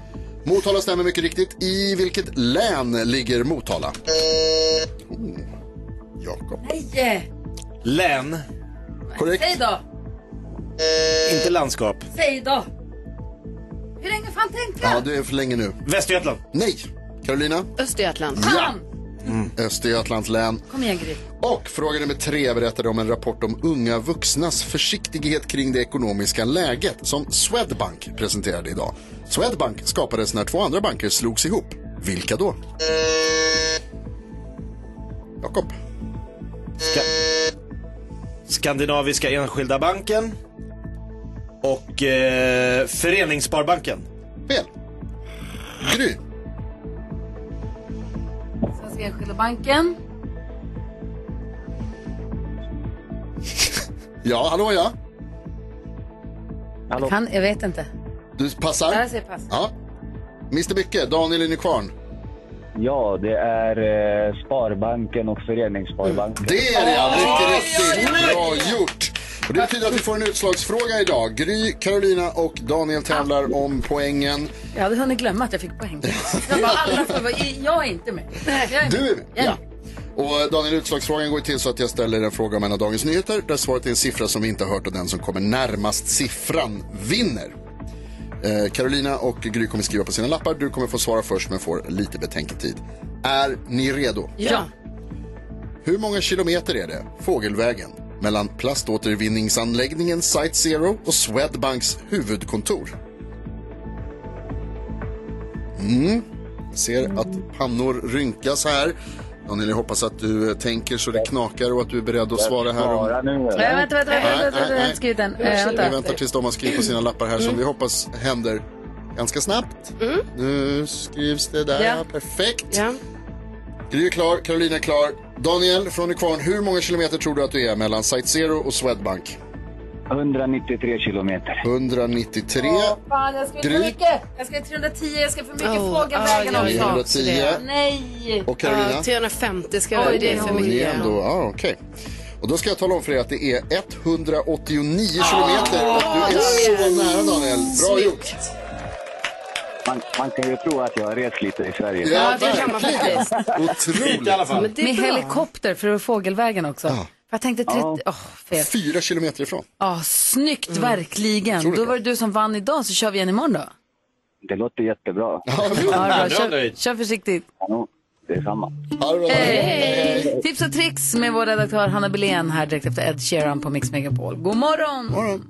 Motala stämmer mycket riktigt. I vilket län ligger Motala? Oh. Jakob. Nej! eh, Län, Korrekt. Säg då! inte landskap. Säg då! Hur länge fan tänkte Ja, du är för länge nu. Västergötland. Nej. Carolina? Östergötland. Ja. Mm. Östergötlands län. Kom igen Gry. Och fråga nummer tre berättade om en rapport om unga vuxnas försiktighet kring det ekonomiska läget som Swedbank presenterade idag. Swedbank skapades när två andra banker slogs ihop. Vilka då? Jakob. Ska... Skandinaviska Enskilda Banken. Och eh, Föreningssparbanken. Fel. Gry. Svenska Enskilda Banken. <laughs> Ja, hallå ja. Hallå. Kan, jag vet inte. Du passar? Jag säger pass. Ja. Mr Mycke, Daniel i Nykvarn. Ja, det är eh, Sparbanken och Föreningssparbanken. Det är det ja, mycket riktigt. Bra gjort. Och det betyder att vi får en utslagsfråga idag. Gry, Carolina och Daniel tävlar om poängen. Jag hade hunnit glömma att jag <laughs> fick poäng. Jag bara, alla får vara, jag är inte med. Jag är Du är med. med. Ja. Och eh, Daniel, utslagsfrågan går till så att jag ställer en fråga om en av Dagens Nyheter där svaret är en siffra som vi inte har hört och den som kommer närmast siffran vinner. Eh, Carolina och Gry kommer skriva på sina lappar. Du kommer få svara först men får lite betänketid. Är ni redo? Ja. Hur många kilometer är det, fågelvägen, mellan plaståtervinningsanläggningen Site Zero och Swedbanks huvudkontor? Mm. Jag ser att pannor rynkas här. Daniel, jag hoppas att du eh, tänker så det knakar och att du är beredd att svara här. Om... Nej, vänta, vänta, vänta, Nej, vänta, nej, vänta, jag har nej. inte skrivit den. Eh, Vi vänta. väntar tills de har skrivit på sina lappar här Mm. som vi hoppas händer ganska snabbt. Nu skrivs det där, Ja. perfekt. Ja. Gry är klar, Carolina är klar. Daniel från Nykvarn, hur många kilometer tror du att du är mellan Site Zero och Swedbank? 193 kilometer. 193. Fan, jag ska Gry? för mycket. Jag ska 310, jag ska för mycket Oh, fråga ja, vägen ja, också. ja. 110. Nej! Och Carolina? Ja, 350 ska Oj, jag det det är är för Ja, men det är mycket. ändå, ja, okej. Och då ska jag tala om för er att det är 189 kilometer. Och du är så nära Daniel. Bra Snyggt. gjort. Man, man kan ju tro att jag har rest lite i Sverige. Ja, det kan man verkligen. Otroligt. Med helikopter, för det var fågelvägen också. För Jag tänkte 30... Åh, fel. Fyra kilometer ifrån. Ja, snyggt, Mm. verkligen. Då var det du som vann idag, så kör vi igen imorgon då. Det låter jättebra. Ja, då, kör, kör försiktigt. Ja, Detsamma. Hej. Tips och tricks med vår redaktör Hanna Billén här direkt efter Ed Sheeran på Mix Megapol. God morgon!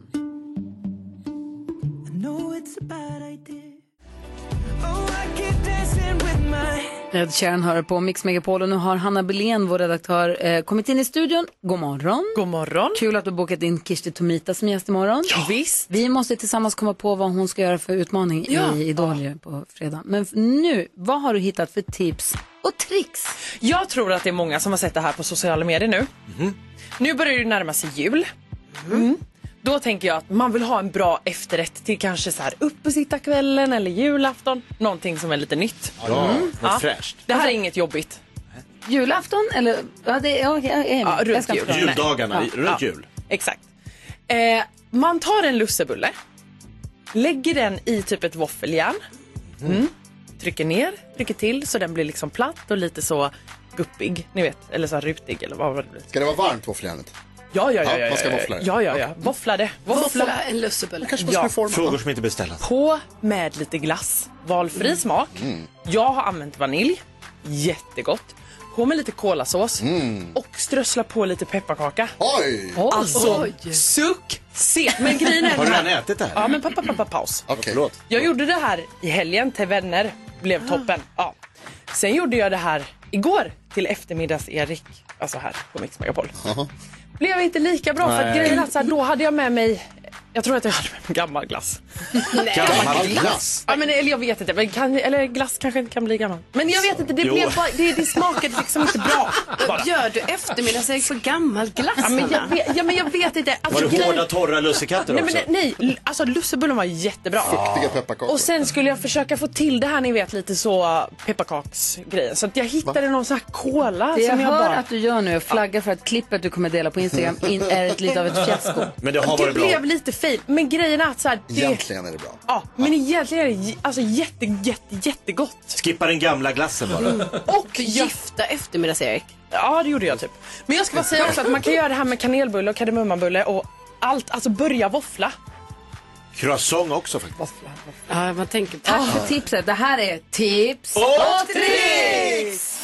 Ed Sheeran hör på Mix Megapol och nu har Hanna Billén, vår redaktör, eh, kommit in i studion. God morgon! God morgon! Kul att du bokat in Kirsti Tomita som gäst imorgon. Ja. Visst! Vi måste tillsammans komma på vad hon ska göra för utmaning Ja. i Idol ju på fredag. Men f- nu, vad har du hittat för tips och tricks? Jag tror att det är många som har sett det här på sociala medier nu. Nu börjar det närma sig jul. Mm. Då tänker jag att man vill ha en bra efterrätt till kanske så här uppesittarkvällen eller julafton. Någonting som är lite nytt. Bra, vad fräscht. Det Alltså- här är inget jobbigt. Julafton eller? Ja, det är okej. jag är med. Ja, runt Jag ska inte jul. förklara. Juldagarna, Nej. runt jul. Exakt. Eh, man tar en lussebulle, lägger den i typ ett våffeljärn, mm. trycker ner, trycker till så den blir liksom platt och lite så guppig, ni vet, eller så här rutig eller vad var det blir. Ska det vara varmt våffeljärnet? Ja, ja, ja. Ja, ja, man ska ja, våffla det. Ja, ja, ja. Våfflade. Våffla en lussebulle. Frågor som inte beställas. På med lite glass. Valfri smak. Jag har använt vanilj. Jättegott. På med lite kolasås. Och strössla på lite pepparkaka. Oj! Alltså, Oj. succé! <laughs> Men grejen är Har du den här- redan ätit det här? Ja, men pappa, pappa, paus. Okej. Jag gjorde det här i helgen till vänner. Blev toppen. Ja. Sen gjorde jag det här igår till eftermiddags-Erik. Alltså här på Mix Megapol. Blev inte lika bra för att Nej. grejen är att så här, då hade jag med mig jag tror att jag hade med mig gammal glass. Gammal Glass? glass? Ja, men, eller jag vet inte. Men kan, eller glass kanske inte kan bli gammal. Men jag vet inte, det, Jo. blev bara, det, det smakade liksom inte bra. bara. Gör du eftermiddagsägg på gammal glass? Ja, men jag vet, ja, men jag vet inte. Alltså, Var det grejen- hårda, torra lussekatter Nej, också? men, nej, l- alltså lussebullen var jättebra. Fuktiga pepparkakor. Och <laughs> sen skulle jag försöka få till det här ni vet lite så äh, pepparkaksgrejen. Så att jag hittade någon sån här cola Det jag, som jag hör bara... att du gör nu, jag flaggar för att klippet du kommer dela på Instagram in, är ett, lite av ett fiasko. Men det har Det varit bra. blev lite fel. Men grejen är att så här, det... Egentligen är det bra. Ja, men egentligen är det j- alltså jätte, jätte, jättegott. Skippa den gamla glassen bara. Och gifta eftermiddags-Erik. Ja, det gjorde jag typ. Men jag ska bara säga också att man kan göra det här med kanelbulle och kardemummabulle och allt, alltså börja våffla. Croissant också faktiskt. Ja, man tänker på Tack för Alltså, tipset. Det här är tips Och tricks!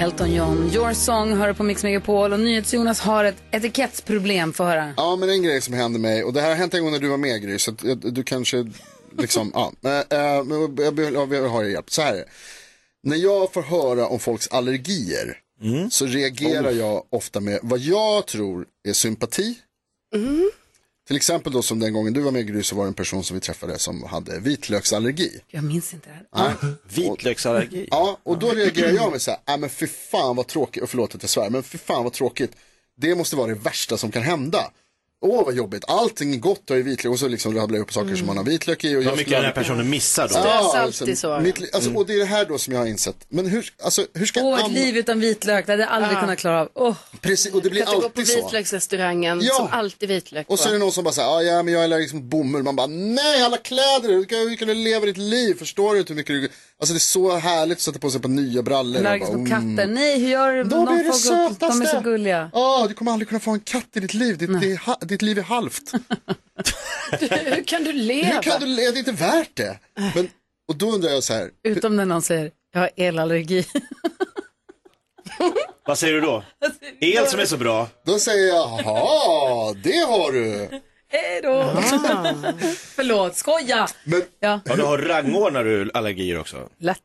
Elton John, Your Song hör du på Mix Megapol och NyhetsJonas har ett etikettsproblem. Få höra. Ja, men en grej som hände mig, och det här har hänt en gång när du var med Gry, så att, eh, du kanske liksom, ja. <laughs> Men, eh, men jag behöver jag behöver ha er hjälp. Så här är det. När jag får höra om folks allergier så reagerar jag ofta med vad jag tror är sympati. Till exempel då som den gången du var med Gry så var det en person som vi träffade som hade vitlöksallergi. Jag minns inte det här. Vitlöksallergi. Ja, och då reagerar jag med så här, "Nej, men fy fan vad tråkigt, och förlåt att jag svär, men fy fan vad tråkigt. Det måste vara det värsta som kan hända. Åh vad jobbigt, allting är gott och i vitlök och så liksom rabblar jag upp saker som man har vitlök i. Och Mm. Vad jag mycket Mm. skulle den här aldrig- personen missar då. Ja, Stressar alltså, alltid så. mitt li- alltså, Och det är det här då som jag har insett. Men hur, alltså, hur ska Åh, ett an- liv utan vitlök, det hade jag aldrig Ah. Ja. kunnat klara av. Åh. Precis, och det blir Kan du gå på alltid så. vitlöksrestaurangen Ja. som alltid vitlök Och så är det någon som bara säger, ah, ja men jag är allergisk mot bomull. Man bara, nej alla kläder, hur kan, hur kan du leva ditt liv? Förstår du inte hur mycket du... Alltså det är så härligt att sätta på sig på nya brallor. och Allergisk bara, mot mm. katter. Nej, hur gör du? De är det folk- de är sötaste. så gulliga. Ja, Ah, du kommer aldrig kunna få en katt i ditt liv. Ditt, det är ha- ditt liv är halvt. <laughs> Hur kan du leva? Hur kan du leva? Det är inte värt det. Men, och då undrar jag så här. Utom när någon säger, jag har elallergi. <laughs> Vad säger du då? El som är så bra. Då säger jag, jaha, det har du. Hej då! Ah. <laughs> Förlåt, skoja! Men, ja. Ja, du har rangordnar du allergier också. Lätt.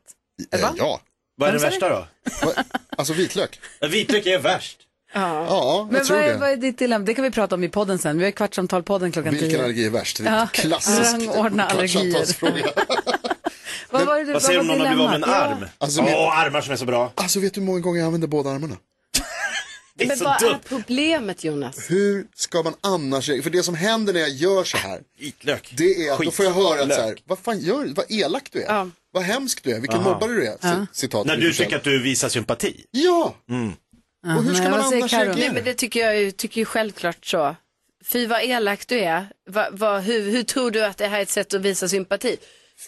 Eh, ja. Vad Ja, är den men så är värsta då? Alltså vitlök. Ja, Vitlök är värst. Ja, ja jag Men tror vad är, det. vad är ditt dilemma? Det kan vi prata om i podden sen. Vi har Kvartsamtal-podden klockan tio. Vilken allergi är värst? Det är Ja. en klassisk Rangordna allergier. vad, var det, Vad säger du om var någon har blivit av med en dilemmat? arm? Åh, Alltså, men- armar som är så bra. Alltså vet du hur många gånger jag använder båda armarna? Det är Men så vad är dumt. problemet Jonas? Hur ska man annars göra? För det som händer när jag gör så här, Vitlök. det är att då får jag höra att Lök. så här, vad fan gör du? Vad elak du är. Vad hemsk du är. Vilken Aha. mobbare du är. Ja. Ja. Citat. När Gry du Forssell. tycker att du visar sympati. Ja. Mm. Och hur ska man Nej, vad säger annars Karo? reagera? Nej, men det tycker jag ju, tycker ju självklart så. Fy vad elak du är. Va, va, hur, hur tror du att det här är ett sätt att visa sympati?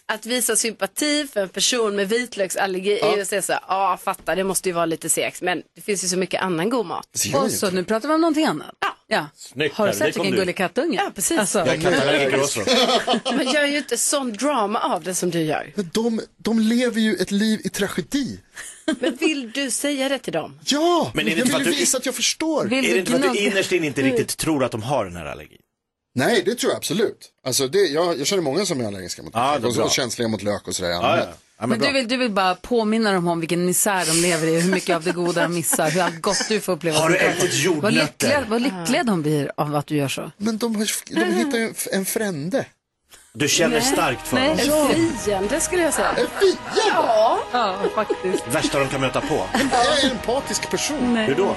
Att visa sympati för en person med vitlöksallergi är ju att säga så här, ja fattar det måste ju vara lite segt men det finns ju så mycket annan god mat. Och så, nu pratar vi om någonting annat. Ja. Snyggt, Har du Karo, det sett kom vilken du. gullig kattunge? Alltså, Ja, precis. Jag kan ta det också. Man gör ju inte sån drama av det som du gör. Men de, de lever ju ett liv i tragedi. Men vill du säga det till dem? Ja, Men är det jag inte för vill ju att du- visa att jag förstår. Är det inte för att du innerst inne inte riktigt tror att de har den här allergin? Nej, det tror jag absolut. Alltså det, jag, jag känner många som är allergiska mot Ja, lök det är och, bra. och känsliga mot lök och sådär. i ja. allmänhet. Ja, Men du vill, du vill bara påminna dem om vilken misär de lever i, hur mycket av det goda de missar, hur allt gott du får uppleva. Har du som ätit kompis. Vad jordnötter? lyckliga, vad lyckliga de blir av att du gör så. Men de, har- de hittar ju en frände. Du känner starkt för Nej, dem. en fiende skulle jag säga. En fiende? Ja. ja, faktiskt. Värsta de kan möta på. Jag är en empatisk person. Hur då?